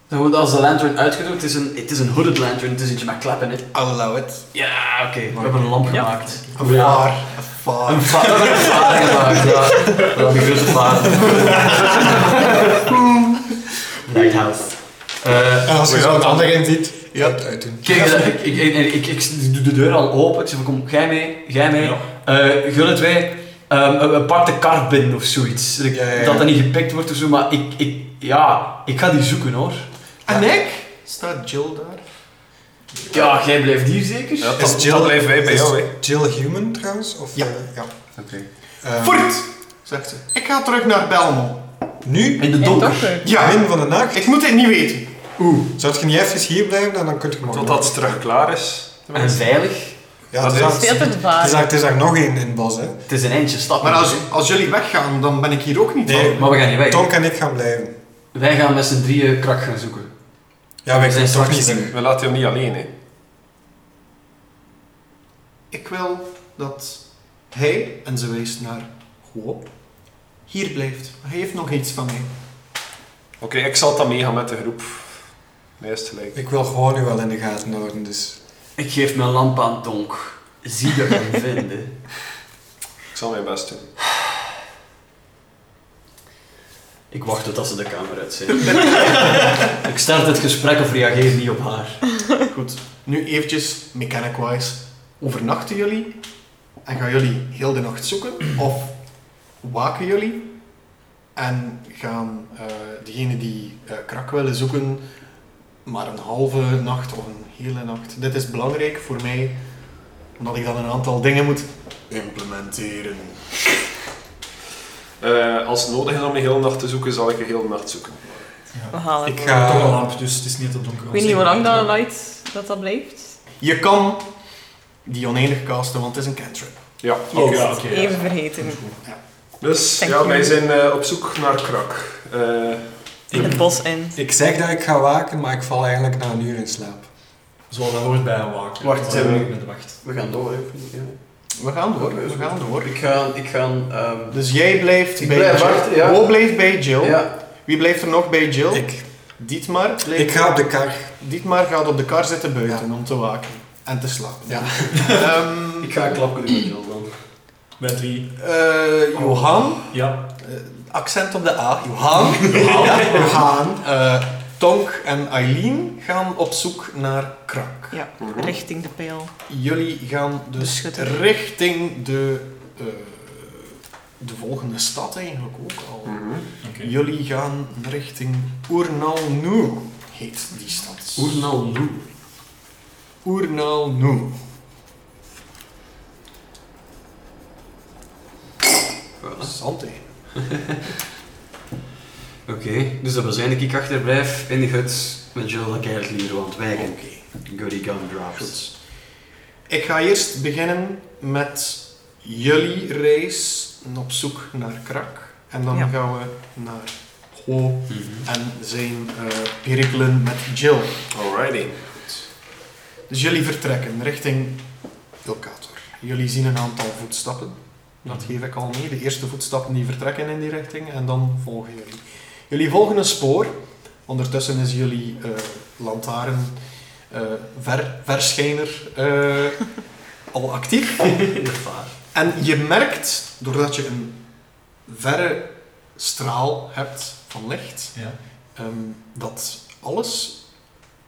Speaker 3: Dan wordt als de lantern uitgedoekt, het is een, het is een hooded lantern, het is eentje met kleppen. Hè.
Speaker 1: Allow it.
Speaker 3: Ja, oké, Oh, we hebben een lamp
Speaker 6: Ja.
Speaker 3: gemaakt.
Speaker 1: Een vaar. Een vaar.
Speaker 3: Een vader een vader gemaakt, ja. We hebben een grote vader. Lighthouse. Eh,
Speaker 5: En als je
Speaker 4: Ja,
Speaker 5: zo het
Speaker 4: dan-
Speaker 5: andere in ziet,
Speaker 1: Ja.
Speaker 5: ja, het uitdoen.
Speaker 3: Kijk, eh, ik, ik, ik, ik, ik doe de deur al open. Ik zeg, kom, jij mee, jij mee.
Speaker 2: Ja.
Speaker 3: Eh Gullet, wij ehm, eh, pak de kar binnen of zoiets. Dat ik-
Speaker 5: Ja, ja, ja.
Speaker 3: Dat dat niet gepikt wordt of zo, maar ik, ik, ja, ik ga die zoeken hoor.
Speaker 1: En ik? Staat Jill daar?
Speaker 3: Ja, jij blijft hier zeker?
Speaker 4: Ja,
Speaker 5: Is
Speaker 4: dan,
Speaker 5: Jill-
Speaker 4: dan blijven wij bij
Speaker 5: is
Speaker 4: jou, hè.
Speaker 5: Jill human trouwens? Of,
Speaker 1: Ja.
Speaker 5: eh, ja.
Speaker 4: Oké.
Speaker 5: Ehm,
Speaker 1: Voort! Zegt ze. Ik ga terug naar Belmont.
Speaker 5: Nu,
Speaker 3: In de
Speaker 6: In
Speaker 3: donker.
Speaker 6: donker.
Speaker 1: Ja,
Speaker 5: min van de nacht,
Speaker 1: ik moet het niet weten.
Speaker 5: zou je niet even hier blijven en dan kun je morgen...
Speaker 4: Totdat het terug klaar is.
Speaker 3: En
Speaker 1: Mhm.
Speaker 3: veilig.
Speaker 5: Ja,
Speaker 4: Dat is-
Speaker 5: het is daar-
Speaker 6: Het is altijd
Speaker 5: het is daar-
Speaker 6: waar.
Speaker 5: het is daar nog één in het bos, hè.
Speaker 3: Het is een eindje stap.
Speaker 1: Maar als, als jullie weggaan, dan ben ik hier ook niet
Speaker 5: Nee.
Speaker 1: van.
Speaker 3: Maar we gaan niet weg.
Speaker 5: Tonk en ik gaan blijven.
Speaker 3: Wij gaan met z'n drieën krak gaan zoeken.
Speaker 5: Ja, wij
Speaker 3: We zijn
Speaker 5: kunnen toch
Speaker 3: straks
Speaker 5: niet
Speaker 3: terug.
Speaker 5: zien.
Speaker 4: We laten jou niet alleen, hè.
Speaker 1: Ik wil dat hij, en ze wijst naar Hoop, hier blijft. Hij heeft nog iets van mij.
Speaker 4: Oké, ik zal dan meegaan met de groep. Mij is het gelijk.
Speaker 5: Ik wil gewoon u wel in de gaten houden, dus...
Speaker 3: Ik geef mijn lamp aan Tonk. Zie dat hem vinden.
Speaker 4: Ik zal mijn best doen.
Speaker 3: Ik wacht tot ze de kamer uit zijn. ik start het gesprek of reageer niet op haar.
Speaker 1: Goed, nu eventjes mechanic-wise. Overnachten jullie en gaan jullie heel de nacht zoeken? Of waken jullie en gaan eh degenen die eh, krak willen zoeken maar een halve nacht of een hele nacht? Dit is belangrijk voor mij, omdat ik dan een aantal dingen moet implementeren.
Speaker 4: Eh, als het nodig is om de hele nacht te zoeken, zal ik de hele nacht zoeken.
Speaker 6: We halen
Speaker 5: Ik
Speaker 6: het.
Speaker 5: ga...
Speaker 2: Toch een lamp, dus het is niet dat donker.
Speaker 6: Ik weet niet hoe lang dat light dat, dat blijft.
Speaker 1: Je kan die oneindig casten, want het is een cantrip.
Speaker 4: Ja, oké.
Speaker 2: Oh, ja, oké. ja.
Speaker 6: Even vergeten.
Speaker 4: Dus
Speaker 6: Thank
Speaker 4: ja,
Speaker 6: you.
Speaker 4: wij zijn eh, op zoek naar krak. Eh,
Speaker 6: In het bos in.
Speaker 5: Ik zeg dat ik ga waken, maar ik val eigenlijk na een uur in slaap.
Speaker 2: Zoals dat hoort bij een waken.
Speaker 3: Wacht,
Speaker 2: Zoals
Speaker 3: zijn
Speaker 2: dat
Speaker 3: we-
Speaker 2: hoort met de wacht.
Speaker 3: We gaan door, hè.
Speaker 1: We gaan door, we gaan door.
Speaker 3: Ik ga... Ik ga ehm,
Speaker 1: Dus jij blijft
Speaker 3: Ik
Speaker 1: bij
Speaker 3: blijf
Speaker 1: Jill.
Speaker 3: wachten, ja.
Speaker 1: Wo blijft bij Jill.
Speaker 3: ja.
Speaker 1: Wie blijft er nog bij Jill?
Speaker 5: Ik,
Speaker 1: Dietmar, blijft-
Speaker 5: ik ga op de kar.
Speaker 1: Dietmar gaat op de kar zitten buiten om te waken en te slapen.
Speaker 5: Ja.
Speaker 1: Ehm,
Speaker 3: Ik ga een klap kunnen doen, Jill, dan.
Speaker 2: Met drie.
Speaker 1: eh, Johan,
Speaker 2: Ja.
Speaker 1: eh, accent op de A, Johan.
Speaker 5: Gaan.
Speaker 1: Eh, Tonk en Eileen gaan op zoek naar krak.
Speaker 6: Ja, richting de pijl.
Speaker 1: Jullie gaan
Speaker 6: De
Speaker 1: dus
Speaker 6: schutter.
Speaker 1: richting de, eh, de volgende stad eigenlijk ook al.
Speaker 4: mhm.
Speaker 2: Oké.
Speaker 1: Jullie gaan richting Oernalnu, heet die stad.
Speaker 3: nou nu?
Speaker 1: Oernalnu. Zante.
Speaker 3: Oké, dus dat wil zijn dat ik achterblijf in de hut met Jill dat ik eigenlijk liever wil
Speaker 1: Oké.
Speaker 3: ontwijken. Goody gumdrops.
Speaker 1: Goed. Ik ga eerst beginnen met jullie reis op zoek naar Krak. En dan
Speaker 6: Ja.
Speaker 1: gaan we naar Ho en zijn eh perikelen met Jill.
Speaker 4: Alrighty.
Speaker 1: Dus jullie vertrekken richting Ilkator. Jullie zien een aantal voetstappen. Dat geef ik al mee. De eerste voetstappen die vertrekken in die richting en dan volgen jullie. Jullie volgen een spoor. Ondertussen is jullie eh, lantaarn eh, ver, verschijner eh, al actief. en je merkt, doordat je een verre straal hebt van licht,
Speaker 2: Ja.
Speaker 1: ehm, dat alles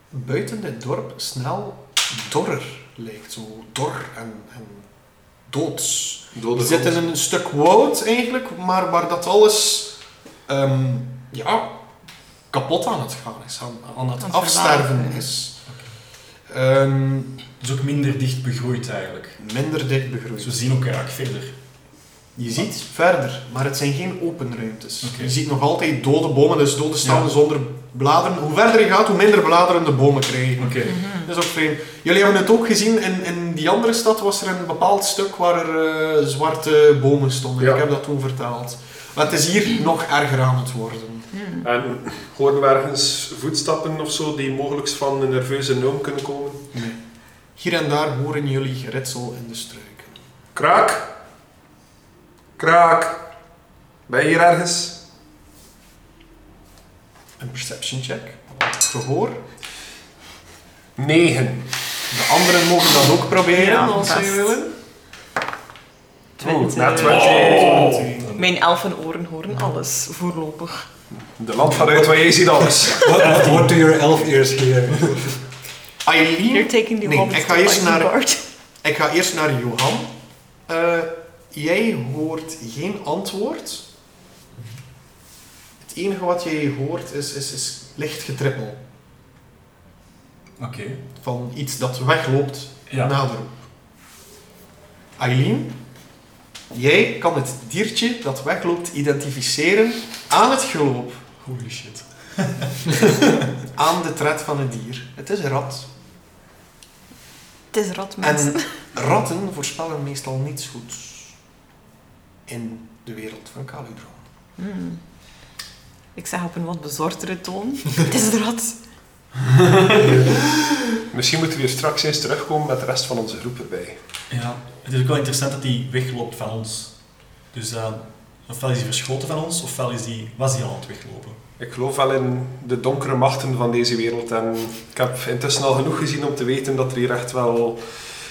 Speaker 1: buiten dit dorp snel dorrer lijkt. Zo dor en, en doods.
Speaker 4: Dode
Speaker 1: We zitten in een stuk woud eigenlijk, maar waar dat alles ehm, ja, kapot aan het gaan is, aan, aan het
Speaker 6: Aan het
Speaker 1: afsterven
Speaker 6: verwateren.
Speaker 1: is. Ehm,
Speaker 2: Het is ook minder dicht begroeid eigenlijk.
Speaker 1: minder dicht
Speaker 2: Dus we
Speaker 1: begroeid.
Speaker 2: zien ook een raak verder.
Speaker 1: Je ziet verder, maar het zijn geen open ruimtes.
Speaker 2: Oké.
Speaker 1: Je ziet nog altijd dode bomen, dus dode stammen
Speaker 2: Ja.
Speaker 1: zonder bladeren. Hoe verder je gaat, hoe minder bladeren de bomen
Speaker 6: Mhm.
Speaker 1: krijgen.
Speaker 2: Oké.
Speaker 1: Dat is ook vreemd. Jullie hebben het ook gezien, in, in die andere stad was er een bepaald stuk waar er eh, zwarte bomen stonden.
Speaker 4: Ja.
Speaker 1: Ik heb dat toen verteld. Maar het is hier nog erger aan het worden.
Speaker 4: En horen we ergens voetstappen of zo die mogelijk van een nerveuze noom kunnen komen?
Speaker 1: Hier en daar horen jullie geritsel in de struiken.
Speaker 4: Kraak? Kraak? Ben je hier ergens?
Speaker 1: Een perception check. Gehoor.
Speaker 4: Negen.
Speaker 1: De anderen mogen dat ook proberen
Speaker 6: Ja,
Speaker 1: als ze
Speaker 6: best.
Speaker 1: willen.
Speaker 4: Oeh, na
Speaker 6: Twintig.
Speaker 4: 20.
Speaker 6: Mijn elfenoren horen alles, voorlopig.
Speaker 4: De land vanuit waar jij ziet alles.
Speaker 5: What, what, what do your elf ears hear?
Speaker 1: Aileen,
Speaker 6: You're taking the
Speaker 1: Nee,
Speaker 6: hobbits
Speaker 1: ik ga
Speaker 6: to
Speaker 1: eerst
Speaker 6: Bison
Speaker 1: naar-
Speaker 6: Guard.
Speaker 1: ik ga eerst naar Johan. Eh, jij hoort geen antwoord. Het enige wat jij hoort is, is, is licht getrippel
Speaker 2: Oké.
Speaker 1: van iets dat wegloopt
Speaker 2: Ja.
Speaker 1: nader op. Aileen, jij kan het diertje dat wegloopt identificeren aan het geloop,
Speaker 2: Holy shit.
Speaker 1: aan de tred van het dier. Het is een rat.
Speaker 6: Het is rat, mensen.
Speaker 1: En ratten voorspellen meestal niets goeds in de wereld van Caludron.
Speaker 6: Hmm. Ik zeg op een wat bezortere toon. Het is de rat.
Speaker 4: Misschien moeten we hier straks eens terugkomen met de rest van onze groep erbij.
Speaker 2: Ja. Het is ook wel interessant dat hij wegloopt van ons. Dus eh, ofwel is hij verschoten van ons, ofwel is die, was hij al aan het weglopen.
Speaker 4: Ik geloof wel in de donkere machten van deze wereld en ik heb intussen al genoeg gezien om te weten dat er hier echt wel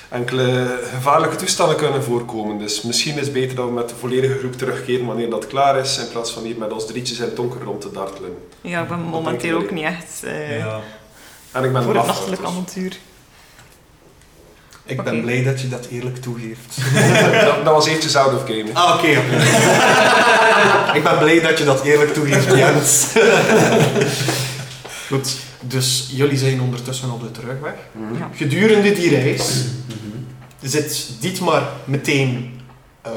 Speaker 4: enkele gevaarlijke toestanden kunnen voorkomen. Dus misschien is het beter dat we met de volledige groep terugkeren wanneer dat klaar is, in plaats van hier met ons drietjes in het donker rond te dartelen.
Speaker 6: Ja, ik ben
Speaker 4: Dat
Speaker 6: momenteel
Speaker 4: denk ik
Speaker 6: ook niet echt eh,
Speaker 2: Ja.
Speaker 4: En ik ben
Speaker 6: voor
Speaker 4: een afwachter,
Speaker 6: een nachtelijk
Speaker 4: dus
Speaker 6: avontuur.
Speaker 1: Ik
Speaker 6: Oké.
Speaker 1: ben blij dat je dat eerlijk toegeeft.
Speaker 4: dat, dat was eventjes out of game.
Speaker 1: Ah, oké. oké. ik ben blij dat je dat eerlijk toegeeft, Jens. Goed, dus jullie zijn ondertussen op de terugweg.
Speaker 4: Mhm.
Speaker 6: Ja.
Speaker 1: Gedurende die reis
Speaker 3: Mhm.
Speaker 1: zit Dietmar meteen eh,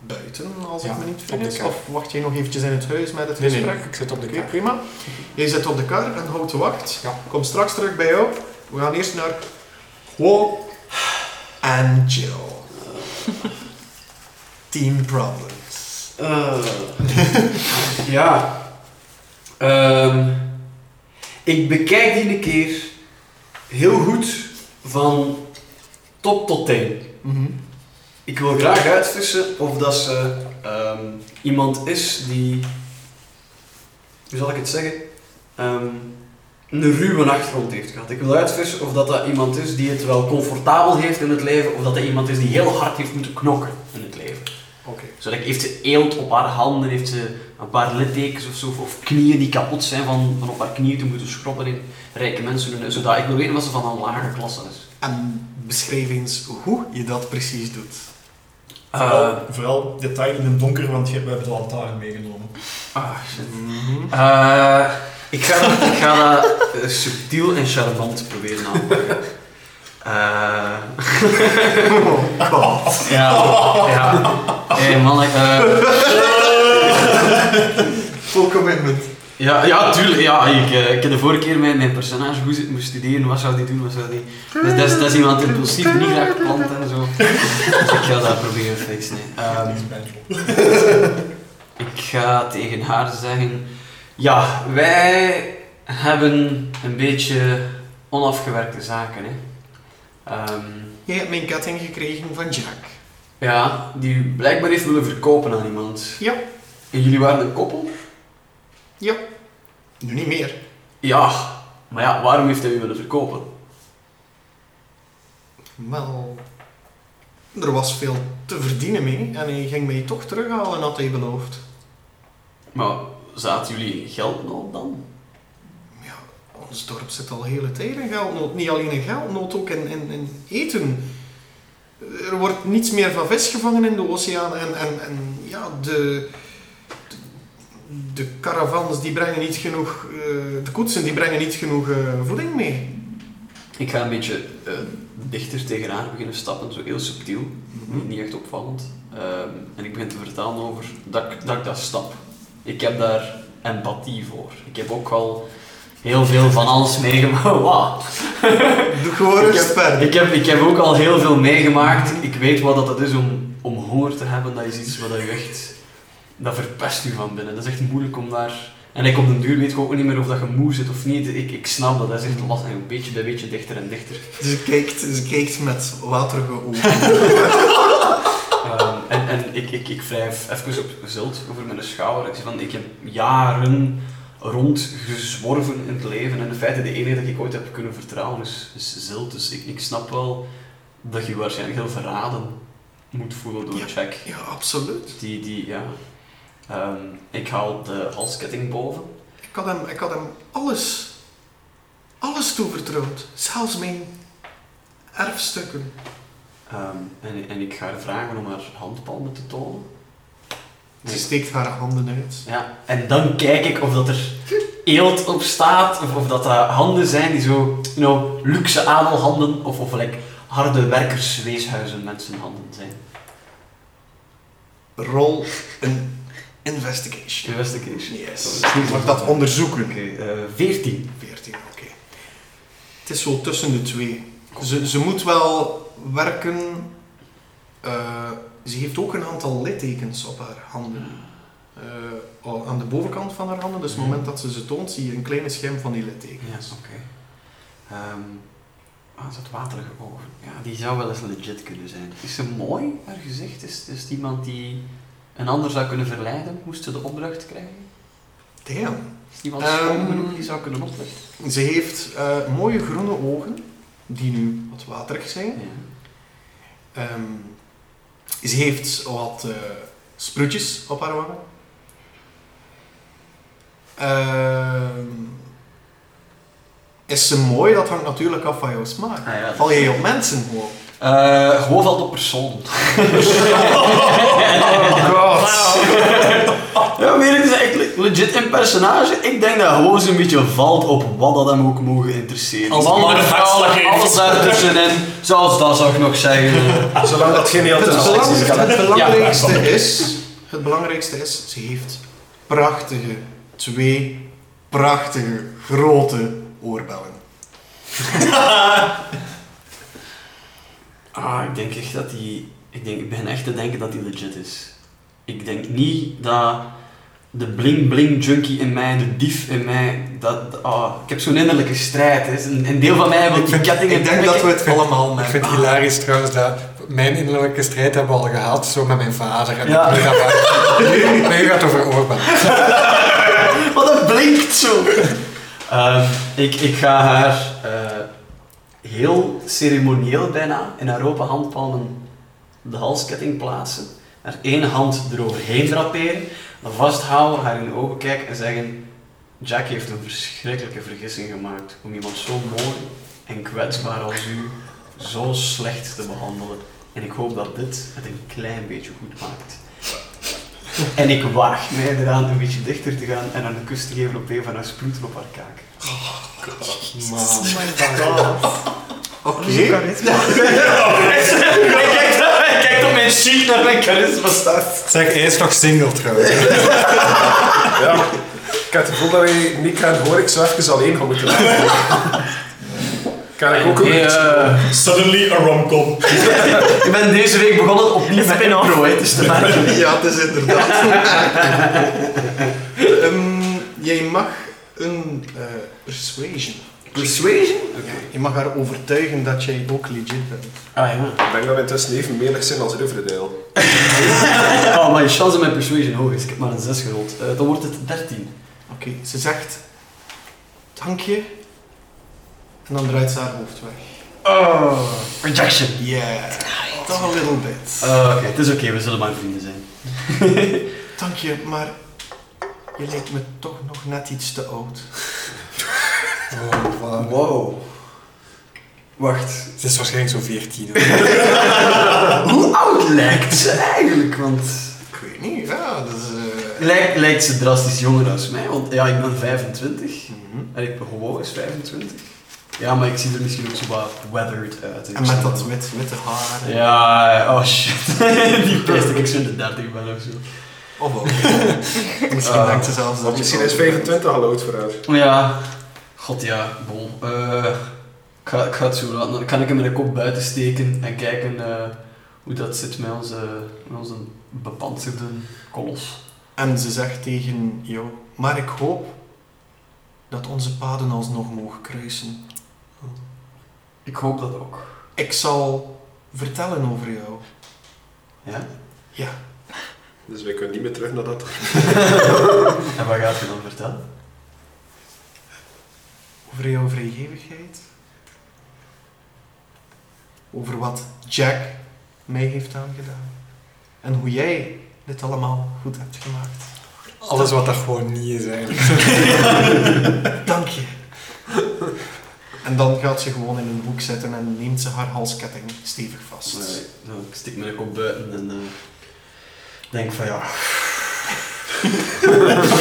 Speaker 1: buiten, als
Speaker 5: Ja,
Speaker 1: ik me niet
Speaker 5: op de
Speaker 1: vergis.
Speaker 5: kar.
Speaker 1: Of wacht jij nog eventjes in het huis met het
Speaker 5: Nee, nee,
Speaker 1: gesprek?
Speaker 5: ik zit op de
Speaker 1: Oké,
Speaker 5: kaart.
Speaker 1: prima. Jij zit op de kar en houdt de wacht.
Speaker 5: Ja.
Speaker 1: Kom straks terug bij jou. We gaan eerst naar Wo en Jill. Team Problems.
Speaker 3: Eh, ja. Ehm, ik bekijk die een keer heel goed van top tot teen.
Speaker 1: Mhm.
Speaker 3: Ik wil graag uitvissen of dat ze ehm, iemand is die, hoe zal ik het zeggen, Ehm, een ruwe achtergrond heeft gehad. Ik wil uitvissen of dat, dat iemand is die het wel comfortabel heeft in het leven, of dat dat iemand is die heel hard heeft moeten knokken in het leven.
Speaker 1: Oké.
Speaker 3: Zo, like, heeft ze eelt op haar handen, heeft ze een paar littekens of zo, of knieën die kapot zijn van, van op haar knieën te moeten schroppen in rijke mensen hun zodat ik wil weten wat ze van een lagere klasse is.
Speaker 1: En beschrijf eens hoe je dat precies doet.
Speaker 3: Eh,
Speaker 2: Vooral- vooral detail in het donker, want je- we hebben de lantaarn meegenomen.
Speaker 3: ah, shit. Eh, ik ga, ik ga dat eh, subtiel en charmant proberen aan te pakken. Eh,
Speaker 1: Oh, God.
Speaker 3: ja, ja. Hey, man, eh,
Speaker 1: Full commitment.
Speaker 3: ja, ja, tuurlijk. Ja, ik, eh, ik heb de vorige keer mijn, mijn personage goed zitten moest studeren. Wat zou die doen, wat zou die... Dus dat is, dat is iemand impulsief, niet graag plant en zo. Dus ik ga dat proberen fixen. hè. Ehm,
Speaker 2: Niks bij het lopen.
Speaker 3: Ik ga tegen haar zeggen: Ja, wij hebben een beetje onafgewerkte zaken. Hè. Ehm,
Speaker 1: Jij hebt mijn ketting gekregen van Jack.
Speaker 3: ja, die u blijkbaar heeft willen verkopen aan iemand.
Speaker 1: Ja.
Speaker 3: En jullie waren een koppel?
Speaker 1: Nu niet meer.
Speaker 3: Ja, maar ja, waarom heeft hij u willen verkopen?
Speaker 1: Wel, er was veel te verdienen mee en hij ging mij toch terughalen, had hij beloofd.
Speaker 3: Maar zaten jullie in geldnood dan?
Speaker 1: Ja, ons dorp zit al hele tijd in geldnood. Niet alleen in geldnood, ook in, in, in eten. Er wordt niets meer van vis gevangen in de oceaan. En, en, en ja, de, de, de caravans die brengen niet genoeg... eh, de koetsen die brengen niet genoeg eh, voeding mee.
Speaker 3: Ik ga een beetje eh,
Speaker 1: Mhm.
Speaker 3: dichter tegen haar beginnen stappen, zo heel subtiel, niet echt opvallend. Ehm, en ik begin te vertellen over dat ik dat, ik dat snap. Ik heb daar empathie voor. Ik heb ook al heel veel van alles meegemaakt. Wauw.
Speaker 5: Doe gewoon
Speaker 3: Ik
Speaker 5: eens
Speaker 3: heb-
Speaker 5: verder.
Speaker 3: Ik heb, ik heb ook al heel veel meegemaakt. Ik weet wat dat het is om, om honger te hebben. Dat is iets wat dat je echt... Dat verpest u van binnen. Dat is echt moeilijk om daar... En ik op den duur weet ik ook niet meer of dat je moe zit of niet. Ik, ik snap dat. Dat is echt lastig. Een beetje bij beetje dichter en dichter.
Speaker 1: Ze kijkt, ze kijkt met waterige ogen.
Speaker 3: Ehm, en en ik, ik, ik wrijf even op zilt over mijn schouder. Ik zeg van, ik heb jaren rondgezworven in het leven. En in feite de enige dat ik ooit heb kunnen vertrouwen is, is zilt. Dus ik, ik snap wel dat je je waarschijnlijk heel verraden moet voelen door
Speaker 1: Ja.
Speaker 3: check.
Speaker 1: Ja, absoluut.
Speaker 3: Die, die, ja. Ehm, ik haal de halsketting boven.
Speaker 1: Ik had hem, ik had hem alles, alles toevertrouwd. Zelfs mijn erfstukken.
Speaker 3: Ehm, en, en ik ga haar vragen om haar handpalmen te tonen.
Speaker 1: Ze steekt haar handen uit.
Speaker 3: Ja, en dan kijk ik of dat er eelt op staat, of, of dat dat handen zijn die zo, you know, luxe adelhanden, of, of like, harde werkersweeshuizen mensenhanden zijn.
Speaker 1: Rol een investigation.
Speaker 3: Investigation.
Speaker 1: Yes. Mag dat
Speaker 3: Oké,
Speaker 1: onderzoeken?
Speaker 3: eh, 14.
Speaker 1: 14, oké. Het is zo tussen de twee. Ze, ze moet wel werken. Eh, ze heeft ook een aantal littekens op haar handen. Eh, al aan de bovenkant van haar handen, dus op het moment dat ze ze toont, zie je een kleine schim van die littekens.
Speaker 3: Ja, oké. Ehm, ah, dat waterige ogen. Ja, die zou wel eens legit kunnen zijn. Is ze mooi, haar gezicht? Is, is het iemand die een ander zou kunnen verleiden, moest ze de opdracht krijgen?
Speaker 1: Damn.
Speaker 3: Is het iemand
Speaker 1: Ehm,
Speaker 3: schoon genoeg die zou kunnen opleggen?
Speaker 1: Ze heeft eh, mooie groene ogen, die nu wat waterig zijn. Ehm, ze heeft wat eh, sprutjes op haar wangen. Ehm, is ze mooi? Dat hangt natuurlijk af van jouw smaak.
Speaker 3: Ah, ja, dat
Speaker 1: Val
Speaker 3: is-
Speaker 1: jij op mensen gewoon?
Speaker 3: Eh, gewoon valt op persoon.
Speaker 4: Oh,
Speaker 3: ja, weet ik, het is echt le- legit een personage. Ik denk dat gewoon zo'n beetje valt op wat dat hem ook mogen interesseren.
Speaker 2: Als
Speaker 3: Mannen,
Speaker 2: maar een
Speaker 3: vrouwen,
Speaker 2: hartslag heeft.
Speaker 3: alles daartussenin. Zoals dat zou ik nog zeggen.
Speaker 4: Zolang dat geen heel
Speaker 1: Het, belang-
Speaker 4: is. kan
Speaker 1: het
Speaker 4: het.
Speaker 1: belangrijkste is, het belangrijkste is, ze heeft prachtige, twee prachtige, grote oorbellen.
Speaker 3: Ah, ik denk echt dat die... Ik, denk, ik begin echt te denken dat die legit is. Ik denk niet dat de bling-bling junkie in mij, de dief in mij... Dat, ah, ik heb zo'n innerlijke strijd. Hè. Een, een deel van mij wil die kettingen...
Speaker 1: Ik denk dat we het allemaal
Speaker 5: Ik
Speaker 1: merken.
Speaker 5: vind het hilarisch trouwens dat mijn innerlijke strijd hebben we al gehad, zo met mijn vader. En
Speaker 3: Ja.
Speaker 5: nu, gaan we, nu, nu gaat het over Orban.
Speaker 3: Wat dat blinkt zo. Ehm, ik, ik ga haar eh, heel ceremonieel bijna in haar open handpalmen de halsketting plaatsen. Haar één hand eroverheen draperen. Dan vasthouden, haar in de ogen kijken en zeggen... Jack heeft een verschrikkelijke vergissing gemaakt om iemand zo mooi en kwetsbaar als u zo slecht te behandelen. En ik hoop dat dit het een klein beetje goed maakt. En ik waag mij eraan een beetje dichter te gaan en een kus te geven op een van haar sproeten op haar kaak.
Speaker 5: Maar-
Speaker 1: Oké.
Speaker 3: Hij kijkt, hij kijkt op mijn sheet naar mijn charisma staat.
Speaker 5: Zeg, hij is nog single trouwens.
Speaker 4: Ja. Ik heb het gevoel dat wij niet gaan horen. Ik zou even alleen gaan moeten laten. Kan ik ook
Speaker 3: Hey,
Speaker 4: een
Speaker 3: eh,
Speaker 2: Suddenly a romcom.
Speaker 3: ik ben deze week begonnen opnieuw met
Speaker 6: Spin-off.
Speaker 3: impro, hè, dus te merken.
Speaker 1: Ja, het is inderdaad. Ehm, jij mag een eh, persuasion.
Speaker 3: Persuasion? Oké.
Speaker 1: Je mag haar overtuigen dat jij ook legit bent.
Speaker 3: Ah
Speaker 4: Ik denk dat we intussen even menig zijn als Riverdale.
Speaker 3: ja. Oh, mijn chance met persuasion hoog is. Ik heb maar een 6 gerold. Eh, dan wordt het 13.
Speaker 1: Oké, ze zegt dank je. En dan draait ze haar hoofd weg.
Speaker 3: Oh. Rejection.
Speaker 1: Yeah, toch een little bit.
Speaker 3: Eh, oké, het is oké, we zullen maar vrienden zijn.
Speaker 1: Dank je, maar je lijkt me toch nog net iets te oud. Ah.
Speaker 5: Oh, wow.
Speaker 3: Wow. Wacht.
Speaker 5: Het is waarschijnlijk zo'n 14.
Speaker 3: Hoe oud lijkt ze eigenlijk? Want...
Speaker 1: Ik weet niet, ja, dat is... eh,
Speaker 3: Lijkt, lijkt ze drastisch jonger dan mij, want ja, ik ben 25.
Speaker 1: mhm.
Speaker 3: En ik ben gewoon eens 25. Ja, maar ik zie er misschien ook zo wat weathered uit.
Speaker 1: En met dat wit, witte haar. en-
Speaker 3: Ja, oh shit. Die pijst ik zo in de 30 ben of zo.
Speaker 1: Of ook. Misschien
Speaker 3: Eh,
Speaker 1: denkt ze zelfs dat
Speaker 4: Want
Speaker 1: je
Speaker 4: misschien
Speaker 1: ouder
Speaker 4: is 25 al oud vooruit.
Speaker 3: Oh Ja, god ja, bol. Eh, ik, ga, ik ga het zo laten. Dan kan ik hem in de kop buiten steken en kijken eh, hoe dat zit met onze, met onze bepantserde kolos.
Speaker 1: En ze zegt tegen jou, maar ik hoop dat onze paden alsnog mogen kruisen.
Speaker 3: Ik hoop dat ook.
Speaker 1: Ik zal vertellen over jou.
Speaker 3: Ja?
Speaker 1: Ja,
Speaker 4: Dus wij kunnen niet meer terug naar dat.
Speaker 3: En wat gaat je dan vertellen?
Speaker 1: over jouw vrijgevigheid. Over wat Jack mij heeft aangedaan. En hoe jij dit allemaal goed hebt gemaakt.
Speaker 5: Alles wat dat gewoon niet is eigenlijk.
Speaker 1: Dank je. En dan gaat ze gewoon in een hoek zitten en neemt ze haar halsketting stevig vast.
Speaker 3: Nee, nou, ik stik mijn kop buiten en eh, denk van ja.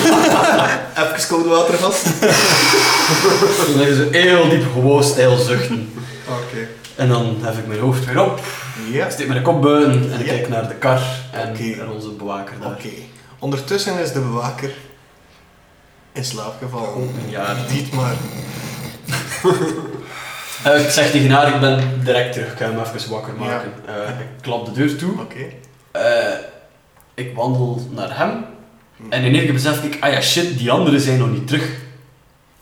Speaker 1: Even koud water vast.
Speaker 3: Toen hebben ze heel diep gewoon stijl zuchten.
Speaker 1: Oké.
Speaker 3: En dan hef ik mijn hoofd weer op,
Speaker 1: Ja.
Speaker 3: ik steek mijn kop buiten en ik
Speaker 1: Ja.
Speaker 3: kijk naar de kar en
Speaker 1: Oké.
Speaker 3: naar onze bewaker
Speaker 1: Oké.
Speaker 3: daar.
Speaker 1: Ondertussen is de bewaker in slaap gevallen.
Speaker 3: Een jaar.
Speaker 1: Diet maar.
Speaker 3: Eh, ik zeg tegen haar, ik ben direct terug, ik ga hem even wakker maken. Eh, ik klap de deur toe.
Speaker 1: Oké.
Speaker 3: Eh, ik wandel naar hem. En in één keer besef ik, ah ja shit, die anderen zijn nog niet terug.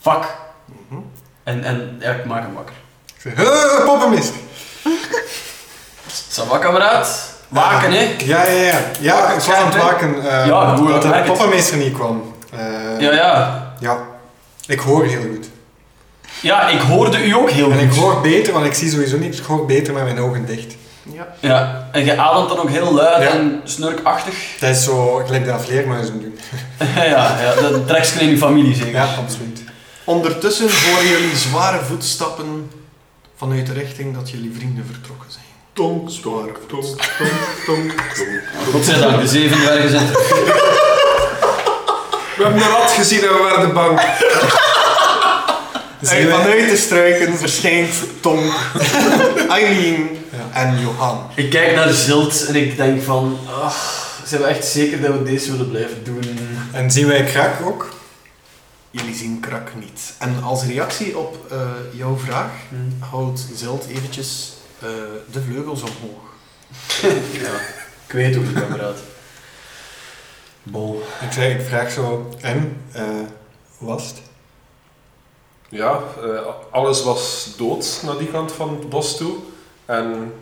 Speaker 3: Fuck.
Speaker 1: Mhm.
Speaker 3: En, en ja, ik maak hem wakker.
Speaker 5: Ik zeg, "Huh, poppenmist!
Speaker 3: Sava kameraad. Waken hè.
Speaker 5: Ja, ja, ja. Ja, ik was aan het waken. eh
Speaker 3: Ja, ik hoor dat
Speaker 5: dat de
Speaker 3: werkt.
Speaker 5: poppenmeester niet kwam. Eh,
Speaker 3: Ja, ja.
Speaker 5: ja. Ik hoor heel goed.
Speaker 3: Ja, ik hoorde u ook heel
Speaker 5: En
Speaker 3: goed.
Speaker 5: ik hoor beter, want ik zie sowieso niks. Ik hoor beter met mijn ogen dicht.
Speaker 1: Ja.
Speaker 3: Ja, en je ademt dan ook heel luid
Speaker 5: Ja.
Speaker 3: en snurkachtig.
Speaker 5: Dat is zo gelijk dat vleermuizen doen.
Speaker 3: ja, ja, dat trekt je in je familie zeker.
Speaker 5: Ja, absoluut.
Speaker 1: Ondertussen horen jullie zware voetstappen vanuit de richting dat jullie vrienden vertrokken zijn.
Speaker 4: Tong, tong, tong, tong, tong.
Speaker 3: Godzijdank, de zeven dwergen zijn terug.
Speaker 4: We hebben een rat gezien en we werden bang.
Speaker 5: Dus
Speaker 1: En
Speaker 5: heel-
Speaker 1: vanuit de struiken verschijnt Tom, Eileen en Johan.
Speaker 3: Ik kijk naar Zilt en ik denk van... ach, zijn we echt zeker dat we deze willen blijven doen?
Speaker 5: En zien wij krak ook?
Speaker 1: Jullie zien Krak niet. En als reactie op eh, jouw vraag houdt Zilt eventjes eh, de vleugels omhoog.
Speaker 3: Ja, ik weet hoe het kameraad. Bol.
Speaker 5: Ik, zeg, ik vraag zo, en? eh was het?
Speaker 4: Ja, eh, alles was dood naar die kant van het bos toe. En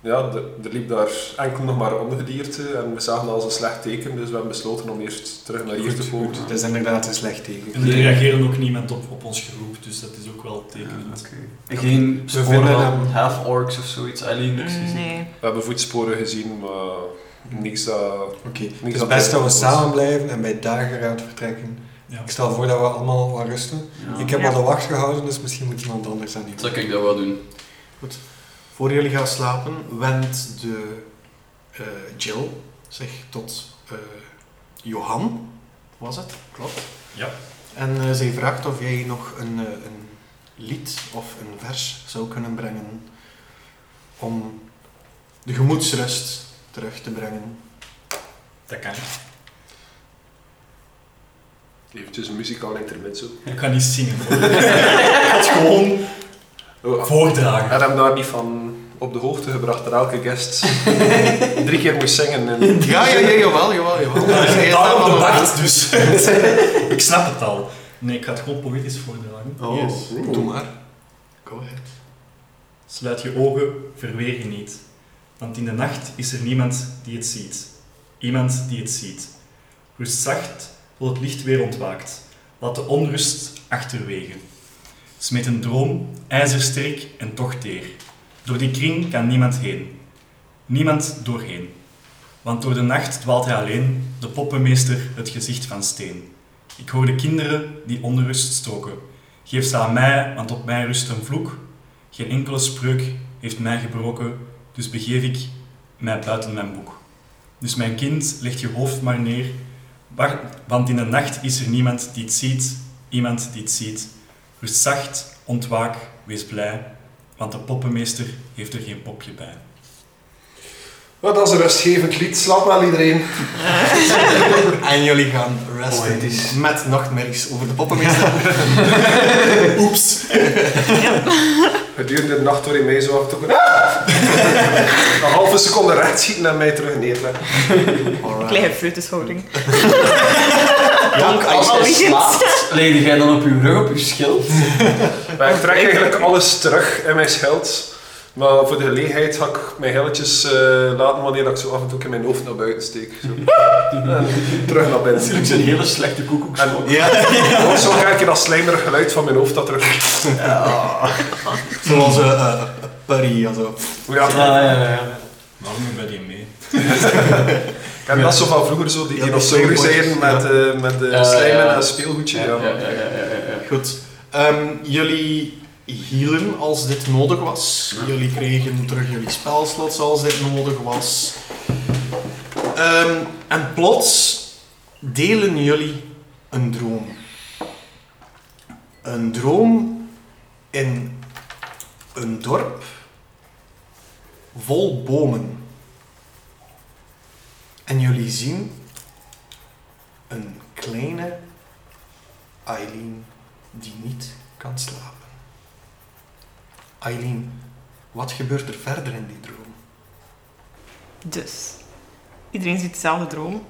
Speaker 4: ja, er, er liep daar enkel nog maar ongedierte en we zagen dat als een slecht teken, dus we hebben besloten om eerst terug naar hier te komen.
Speaker 5: dat is inderdaad een slecht teken.
Speaker 2: En er
Speaker 3: Nee.
Speaker 2: reageert ook niemand op, op ons geroep, dus dat is ook wel tekenend.
Speaker 3: Geen
Speaker 5: We
Speaker 3: spoor
Speaker 5: vinden
Speaker 3: van
Speaker 5: hem-
Speaker 3: half-orcs of zoiets, alleen niks gezien.
Speaker 6: Mm, Nee.
Speaker 4: We hebben voetsporen gezien, maar niks dat...
Speaker 5: Oké,
Speaker 4: Niks
Speaker 5: het is
Speaker 4: dat
Speaker 5: best dat we
Speaker 4: blijft.
Speaker 5: samen blijven en bij dageraad vertrekken.
Speaker 2: Ja.
Speaker 5: Ik stel voor dat we allemaal wat rusten.
Speaker 3: Ja.
Speaker 5: Ik heb
Speaker 6: Ja.
Speaker 5: al de wacht gehouden, dus misschien moet iemand anders aan die
Speaker 3: Zou ik dat wel doen?
Speaker 1: Voor jullie gaan slapen wendt de eh, Jill zich tot eh, Johan, was het? Klopt.
Speaker 2: Ja.
Speaker 1: En eh, zij vraagt of jij nog een, eh, een lied of een vers zou kunnen brengen om de gemoedsrust terug te brengen.
Speaker 2: Dat kan.
Speaker 4: Eventjes een muzikaal intermezzo.
Speaker 2: Ik ga niet zingen. hoor. Ik had gewoon
Speaker 4: Oh,
Speaker 2: voordragen.
Speaker 4: had hem daar niet van op de hoogte gebracht dat elke guest drie keer moest zingen. En...
Speaker 1: Ja, ja, ja, jawel, jawel, jawel.
Speaker 2: Ja,
Speaker 1: Zij is
Speaker 2: daarom
Speaker 1: daarvan
Speaker 2: bedacht, dus. ik snap het al. Nee, ik ga het gewoon poëtisch voordragen.
Speaker 1: Oh,
Speaker 4: Yes.
Speaker 1: doe maar. Go ahead.
Speaker 2: Sluit je ogen, verweer je niet. Want in de nacht is er niemand die het ziet. Iemand die het ziet. Rust zacht, tot het licht weer ontwaakt. Laat de onrust achterwege. Smeet een droom, ijzersterk en toch teer. Door die kring kan niemand heen. Niemand doorheen. Want door de nacht dwaalt hij alleen, de poppenmeester het gezicht van steen. Ik hoor de kinderen die onrust stoken. Geef ze aan mij, want op mij rust een vloek. Geen enkele spreuk heeft mij gebroken, dus begeef ik mij buiten mijn boek. Dus mijn kind, leg je hoofd maar neer, wa- want in de nacht is er niemand die het ziet, iemand die het ziet. Rust zacht, ontwaak, wees blij, want de poppenmeester heeft er geen popje bij.
Speaker 4: Maar dat is een rustgevend lied. Slaap wel iedereen.
Speaker 5: En jullie gaan resten.
Speaker 1: Poëtisch. Met nachtmerries over de poppenmeester. Oeps.
Speaker 4: Gedurende de nacht hoor je mij zo af en toe... "Ah!" een halve seconde recht schieten en mij terug neerleggen.
Speaker 6: Kleine fruitenshouding.
Speaker 3: Donk, als
Speaker 6: Oh,
Speaker 3: je
Speaker 6: shit.
Speaker 3: slaapt, leg jij dan op je rug op je schild.
Speaker 4: Maar ik trek eigenlijk alles terug in mijn schild. Maar voor de gelegenheid ga ik mijn helletjes eh, laten wanneer ik zo af en toe in mijn hoofd naar buiten steek. Zo. En terug naar binnen.
Speaker 3: is een hele slechte koekoek.
Speaker 4: En
Speaker 1: Ja.
Speaker 4: ook zo krijg je dat slijmerig geluid van mijn hoofd dat terug.
Speaker 1: Zoals eh eh, Parry. Also.
Speaker 4: Ja,
Speaker 3: ja, ja, ja.
Speaker 2: Waarom ben je mee?
Speaker 4: Ik heb dat zo van vroeger, zo, die
Speaker 1: Ja, die
Speaker 4: dinosaurussen
Speaker 1: speelgoedjes,
Speaker 4: met, eh met eh
Speaker 3: Ja,
Speaker 4: slijmen
Speaker 3: ja.
Speaker 4: en speelgoedje. Ja,
Speaker 1: Goed. Ehm, jullie hielen als dit nodig was. Jullie kregen terug jullie spelslots als dit nodig was. Ehm, en plots delen jullie een droom. Een droom in een dorp vol bomen. En jullie zien een kleine Eileen die niet kan slapen. Eileen, wat gebeurt er verder in die droom?
Speaker 6: Dus, iedereen ziet dezelfde droom.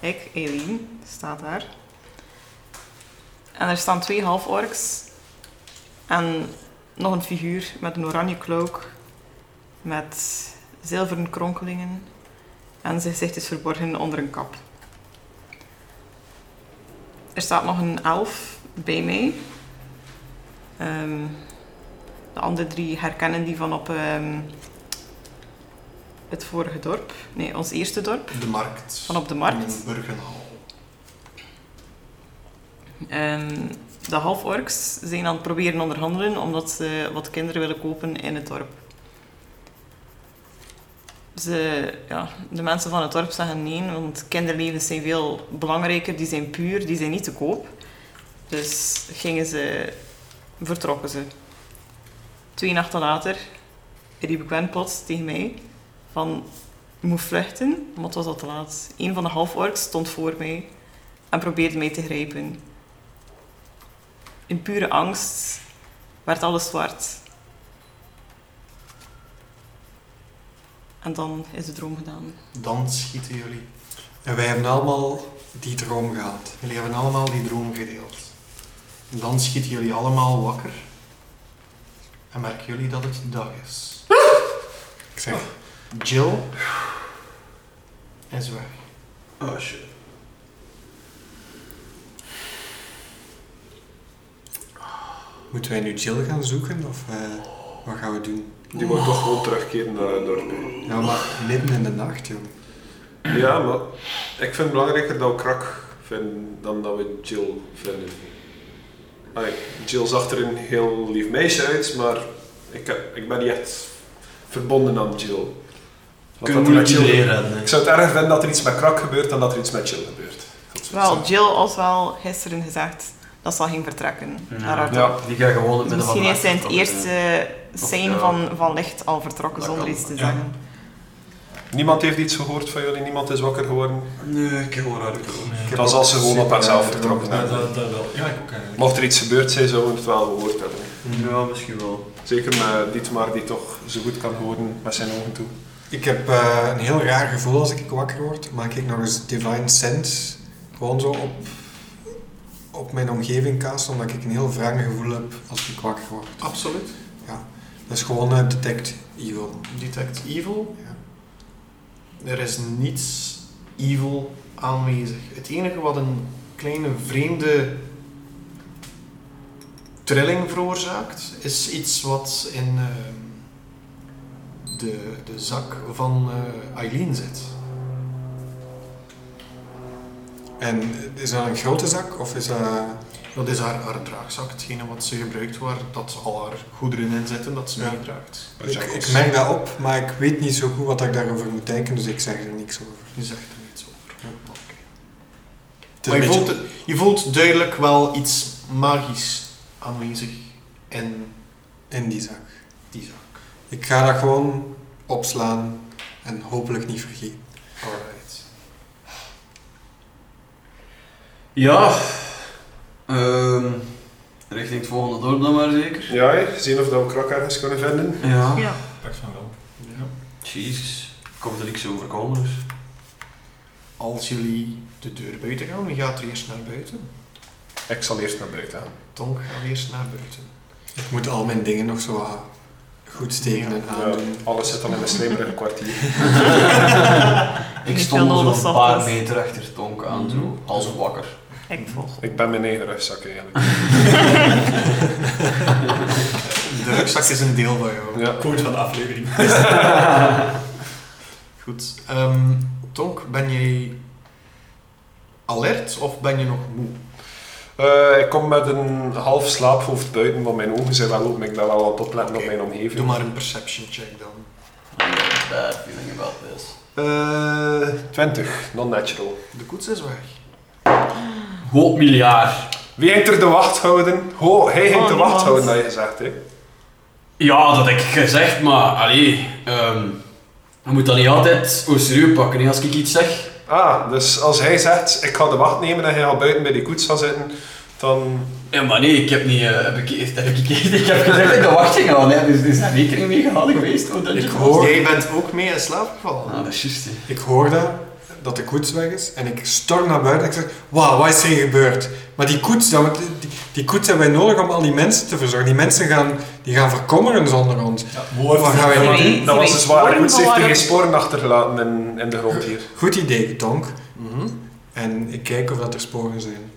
Speaker 6: Ik, Eileen, sta daar. En er staan twee half-orks. En nog een figuur met een oranje cloak. Met zilveren kronkelingen. En zijn gezicht is verborgen onder een kap. Er staat nog een elf bij mij. Ehm, de andere drie herkennen die van op ehm, het vorige dorp. Nee, ons eerste dorp.
Speaker 1: De markt.
Speaker 6: Van op de markt.
Speaker 1: In Burgenhal.
Speaker 6: En de half-orks zijn aan het proberen onderhandelen omdat ze wat kinderen willen kopen in het dorp. Ze, ja, de mensen van het dorp zeggen nee, want kinderlevens zijn veel belangrijker, die zijn puur, die zijn niet te koop. Dus gingen ze, vertrokken ze. Twee nachten later riep Gwen plots tegen mij van, je moet vluchten, maar het was al te laat. Een van de half-orks stond voor mij en probeerde mij te grijpen. In pure angst werd alles zwart. En dan is de droom gedaan.
Speaker 1: Dan schieten jullie.
Speaker 5: En wij hebben allemaal die droom gehad.
Speaker 1: Jullie hebben allemaal die droom gedeeld. Dan schieten jullie allemaal wakker. En merken jullie dat het dag is.
Speaker 5: Ik zeg,
Speaker 1: Jill is weg.
Speaker 5: oh shit. Moeten wij nu Jill gaan zoeken of eh, wat gaan we doen?
Speaker 4: Die moet toch gewoon terugkeren naar het dorp.
Speaker 5: Ja, maar midden in de nacht, joh.
Speaker 4: Ja, maar ik vind het belangrijker dat we Krak vinden dan dat we Jill vinden. Allee, Jill zag er een heel lief meisje uit, maar ik, heb- ik ben niet echt verbonden aan Jill. Wat dat er met Jill- Ik zou het erg vinden dat er iets met Krak gebeurt dan dat er iets met Jill gebeurt.
Speaker 6: Wel, Jill als wel gisteren gezegd dat ze al ging vertrekken. naar haar dorp.
Speaker 3: Die gaan gewoon het midden van de
Speaker 6: Ah, Misschien is
Speaker 3: nacht
Speaker 6: zij het
Speaker 3: vertrokken, ja.
Speaker 6: eerste
Speaker 3: Of,
Speaker 6: sein
Speaker 3: ja.
Speaker 6: van, van licht al vertrokken
Speaker 3: Dat
Speaker 6: zonder
Speaker 3: kan,
Speaker 6: iets te
Speaker 3: ja.
Speaker 6: zeggen.
Speaker 4: Niemand heeft iets gehoord van jullie, niemand is wakker geworden.
Speaker 5: Nee, ik heb gewoon uit de droom.
Speaker 2: Nee.
Speaker 5: Ik heb
Speaker 4: Dat is als ze gewoon op
Speaker 5: super
Speaker 4: haarzelf
Speaker 5: uit de
Speaker 4: vertrokken
Speaker 5: droom.
Speaker 2: Ja, dat, dat wel. Ja, ik ook eh, eigenlijk.
Speaker 4: Mocht er iets gebeurd zijn, zouden we het wel gehoord hebben.
Speaker 5: Ja, misschien wel.
Speaker 4: Zeker met Dietmar, die toch zo goed kan horen met zijn ogen toe.
Speaker 5: Ik heb eh, een heel raar gevoel als ik wakker word. Maak ik nog eens Divine Sense gewoon zo op, op mijn omgeving cast, omdat ik een heel wrange gevoel heb als ik wakker word.
Speaker 1: Absoluut.
Speaker 5: Dat is gewoon eh, Detect Evil.
Speaker 1: Detect evil.
Speaker 5: Ja.
Speaker 1: Er is niets evil aanwezig. Het enige wat een kleine vreemde trilling veroorzaakt, is iets wat in ehm, de, de zak van eh, Eileen zit.
Speaker 5: En is dat een grote zak of is dat...
Speaker 1: Dat is haar, haar draagzak, hetgene wat ze gebruikt waar dat al haar goederen in zitten, dat ze
Speaker 5: Ja.
Speaker 1: meedraagt.
Speaker 5: Ik, ik merk dat op, maar ik weet niet zo goed wat ik daarover moet denken, dus ik zeg er niks over.
Speaker 1: Je zegt er niets over. Oké.
Speaker 5: Het is
Speaker 1: Maar
Speaker 5: een
Speaker 1: je
Speaker 5: beetje-
Speaker 1: voelt, je voelt duidelijk wel iets magisch aanwezig in
Speaker 5: in die zak.
Speaker 1: die zak.
Speaker 5: Ik ga dat gewoon opslaan en hopelijk niet vergeten.
Speaker 1: Alright.
Speaker 3: Ja. Ehm, richting het volgende dorp dan maar zeker.
Speaker 4: Ja, hè. zien of dat we krak ergens kunnen vinden.
Speaker 3: Ja.
Speaker 6: Ja.
Speaker 2: Pak van wel.
Speaker 3: Jezus. Ik hoop dat ik zo overkomen is.
Speaker 1: Als jullie de deur buiten gaan, wie gaat er eerst naar buiten?
Speaker 4: Ik zal eerst naar buiten gaan.
Speaker 1: Tonk gaat eerst naar buiten.
Speaker 5: Ik moet al mijn dingen nog zo wat goed steken en aandoen.
Speaker 4: Ja, alles zit dan in een slijmerige kwartier.
Speaker 3: Ik
Speaker 6: Niet
Speaker 3: stond
Speaker 6: veel nodig,
Speaker 3: zo'n paar
Speaker 6: ochtends.
Speaker 3: meter achter Tonk aan, zo, als wakker.
Speaker 1: Mhm.
Speaker 6: Ik volg.
Speaker 4: Ik ben mijn eigen rugzak eigenlijk.
Speaker 1: De rugzak is een deel van jou.
Speaker 4: Ja.
Speaker 2: Quote van de aflevering.
Speaker 1: Goed. Ehm, Tonk, ben jij alert of ben je nog moe?
Speaker 4: Eh, ik kom met een half slaaphoofd buiten, want mijn ogen zijn wel open. Ik ben wel aan het opletten op
Speaker 1: Oké.
Speaker 4: mijn omgeving.
Speaker 1: Doe maar een perception check dan.
Speaker 3: Bad feeling about this.
Speaker 4: Eh, 20, non-natural.
Speaker 1: De koets is weg.
Speaker 3: Hoop miljard.
Speaker 4: Wie ging er de wacht houden? Ho, hij ging
Speaker 6: Oh,
Speaker 4: de
Speaker 6: niemand.
Speaker 4: wacht houden, had je gezegd. Hè?
Speaker 3: Ja, dat heb ik gezegd, maar allee. ehm, je moet dat niet altijd au serieus pakken hè, als ik iets zeg.
Speaker 4: Ah, dus als hij zegt, ik ga de wacht nemen en hij gaat buiten bij die koets gaan zitten, dan...
Speaker 3: Ja, maar nee, ik heb niet. eh, heb ik, heb ik, ik heb gezegd dat ik de wacht ging houden, hè, dus er is daar rekening mee gehouden geweest. hoor, dat je-
Speaker 5: Ik hoor,
Speaker 1: Jij bent ook mee in slaap gevallen.
Speaker 3: Ah, dat is juist. hè.
Speaker 5: ik hoor dat, dat de koets weg is en ik storm naar buiten en ik zeg, wauw, wat is er hier gebeurd? Maar die koets, dat, moet- die, die koets hebben wij nodig om al die mensen te verzorgen. Die mensen gaan, die gaan verkommeren zonder ons.
Speaker 2: Mooi.
Speaker 5: Wat gaan wij
Speaker 6: Nee,
Speaker 5: doen?
Speaker 6: nee.
Speaker 4: Dat was
Speaker 6: geen
Speaker 4: een zware
Speaker 6: sporen
Speaker 4: koets, heeft er
Speaker 6: bewaren.
Speaker 4: geen sporen achtergelaten in, in de grond hier.
Speaker 5: Goed idee, Tonk.
Speaker 1: Mhm.
Speaker 5: En ik kijk of dat er sporen zijn.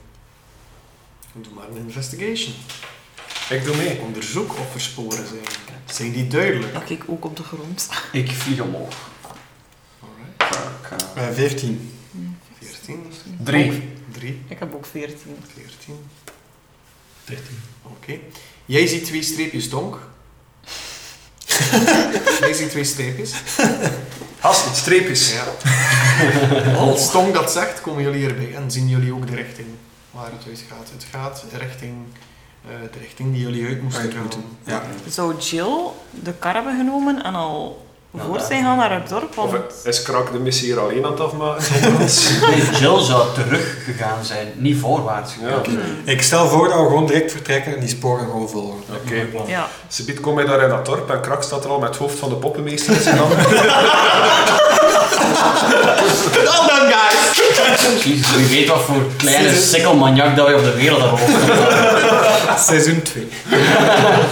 Speaker 1: Doe maar een investigation.
Speaker 4: Ik doe mee.
Speaker 1: Onderzoek of er sporen zijn. Zijn die duidelijk?
Speaker 6: Dat ik ook op de grond.
Speaker 3: Ik vlieg omhoog.
Speaker 1: Alright.
Speaker 3: Fuck, eh.
Speaker 5: Eh 14.
Speaker 1: 14.
Speaker 3: Drie.
Speaker 1: 3,
Speaker 6: Ik heb ook 14.
Speaker 1: 14.
Speaker 2: 13.
Speaker 1: Oké. Jij ziet twee streepjes donk. Jij ziet twee streepjes.
Speaker 4: Hasten, streepjes.
Speaker 1: Ja. Als Tong dat zegt, komen jullie erbij en zien jullie ook de richting waar het uit gaat. Het gaat richting eh, de richting die jullie uit moesten
Speaker 5: Uit
Speaker 1: gaan.
Speaker 5: moeten. Ja.
Speaker 6: Zou Jill de kar hebben genomen en al
Speaker 3: Ja,
Speaker 6: voor
Speaker 3: daar.
Speaker 6: zijn gaan naar het dorp? Want
Speaker 4: Of is Krak de missie hier alleen aan het afmaken zonder ons?
Speaker 3: Nee, Jill zou teruggegaan zijn, niet voorwaarts gegaan.
Speaker 4: Ja.
Speaker 5: Ik stel voor dat we gewoon direct vertrekken en die sporen gewoon volgen.
Speaker 4: Oké.
Speaker 2: Mooi plan.
Speaker 6: ja,
Speaker 4: Ze biedt kom mij daar in dat dorp en Krak staat er al met het hoofd van de poppenmeester in zijn handen.
Speaker 1: Well done, guys!
Speaker 3: Jezus, wie weet wat voor kleine sikkelmaniak dat wij op de wereld hebben opgekomen.
Speaker 5: Seizoen 2.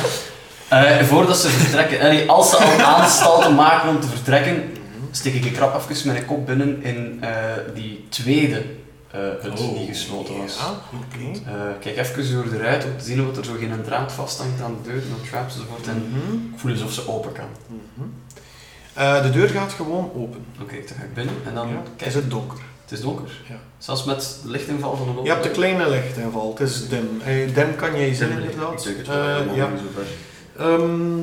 Speaker 3: Eh, voordat ze vertrekken, allee, als ze al aanstalten maken om te vertrekken,
Speaker 1: Mhm.
Speaker 3: steek ik een krap even mijn kop binnen in eh, die tweede eh hut
Speaker 2: Oh,
Speaker 3: die gesloten was.
Speaker 1: Ja, oké.
Speaker 3: Eh, kijk even door de ruit om te zien of er zo geen draad vasthangt aan de deur en aan traps enzovoort. En
Speaker 1: Mhm,
Speaker 3: ik voel eens of ze open kan.
Speaker 1: mhm. Eh, de deur gaat gewoon open.
Speaker 3: Oké, dan ga ik binnen en dan
Speaker 1: Ja.
Speaker 3: kijk
Speaker 1: Is het donker?
Speaker 3: Het is donker.
Speaker 1: Ja.
Speaker 3: Zelfs met de lichtinval van de lamp.
Speaker 1: Je hebt de kleine lichtinval, het is dim. Eh, dim kan jij zien, inderdaad.
Speaker 3: Ik,
Speaker 1: Eh, ja. Ehm,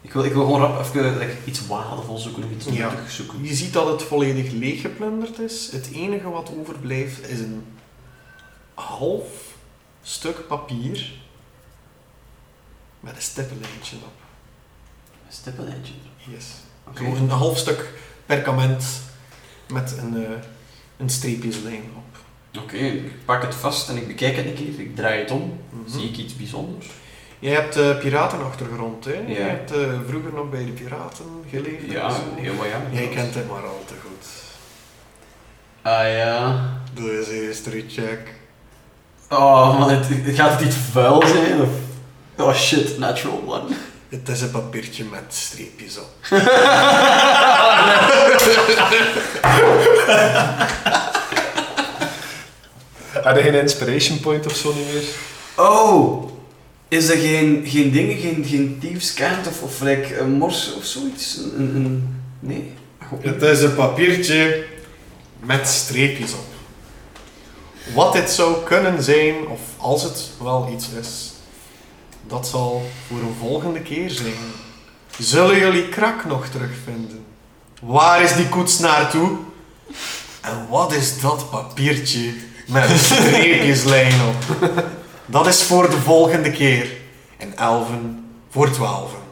Speaker 3: ik, wil, ik wil gewoon rap even like, iets waardevols zoeken of iets
Speaker 1: Ja.
Speaker 3: nuttigs zoeken.
Speaker 1: je ziet dat het volledig leeggeplunderd is. Het enige wat overblijft is een half stuk papier met een stippenlijntje op.
Speaker 3: Een stippenlijntje.
Speaker 1: Yes.
Speaker 3: Oké.
Speaker 1: Zo een half stuk perkament met een, eh, een streepjeslijn op.
Speaker 3: Oké, ik pak het vast en ik bekijk het een keer. Ik draai het om.
Speaker 1: Mhm.
Speaker 3: Zie ik iets bijzonders?
Speaker 1: Jij hebt eh, piratenachtergrond, hè?
Speaker 3: Ja.
Speaker 1: Je hebt eh, vroeger nog bij de piraten geleefd. en
Speaker 3: Ja,
Speaker 1: zo.
Speaker 3: heel wat jammer.
Speaker 1: Jij kent hem maar al te goed.
Speaker 3: Ah ja.
Speaker 1: Doe eens history check.
Speaker 3: Oh man, het, het- gaat het iets vuil zijn? Of... Oh shit, natural one.
Speaker 1: Het is een papiertje met streepjes op.
Speaker 4: Had je geen inspiration point of zo niet meer?
Speaker 3: Oh! Is er geen, geen dingen, geen, geen thiefscant of, of like, een mors of zoiets? Een, een, een- Nee? Goed.
Speaker 1: Het is een papiertje met streepjes op. Wat dit zou kunnen zijn, of als het wel iets is, dat zal voor een volgende keer zijn. Zullen jullie krak nog terugvinden? Waar is die koets naartoe? En wat is dat papiertje met een streepjeslijn op? Dat is voor de volgende keer. En elven voor twaalfen.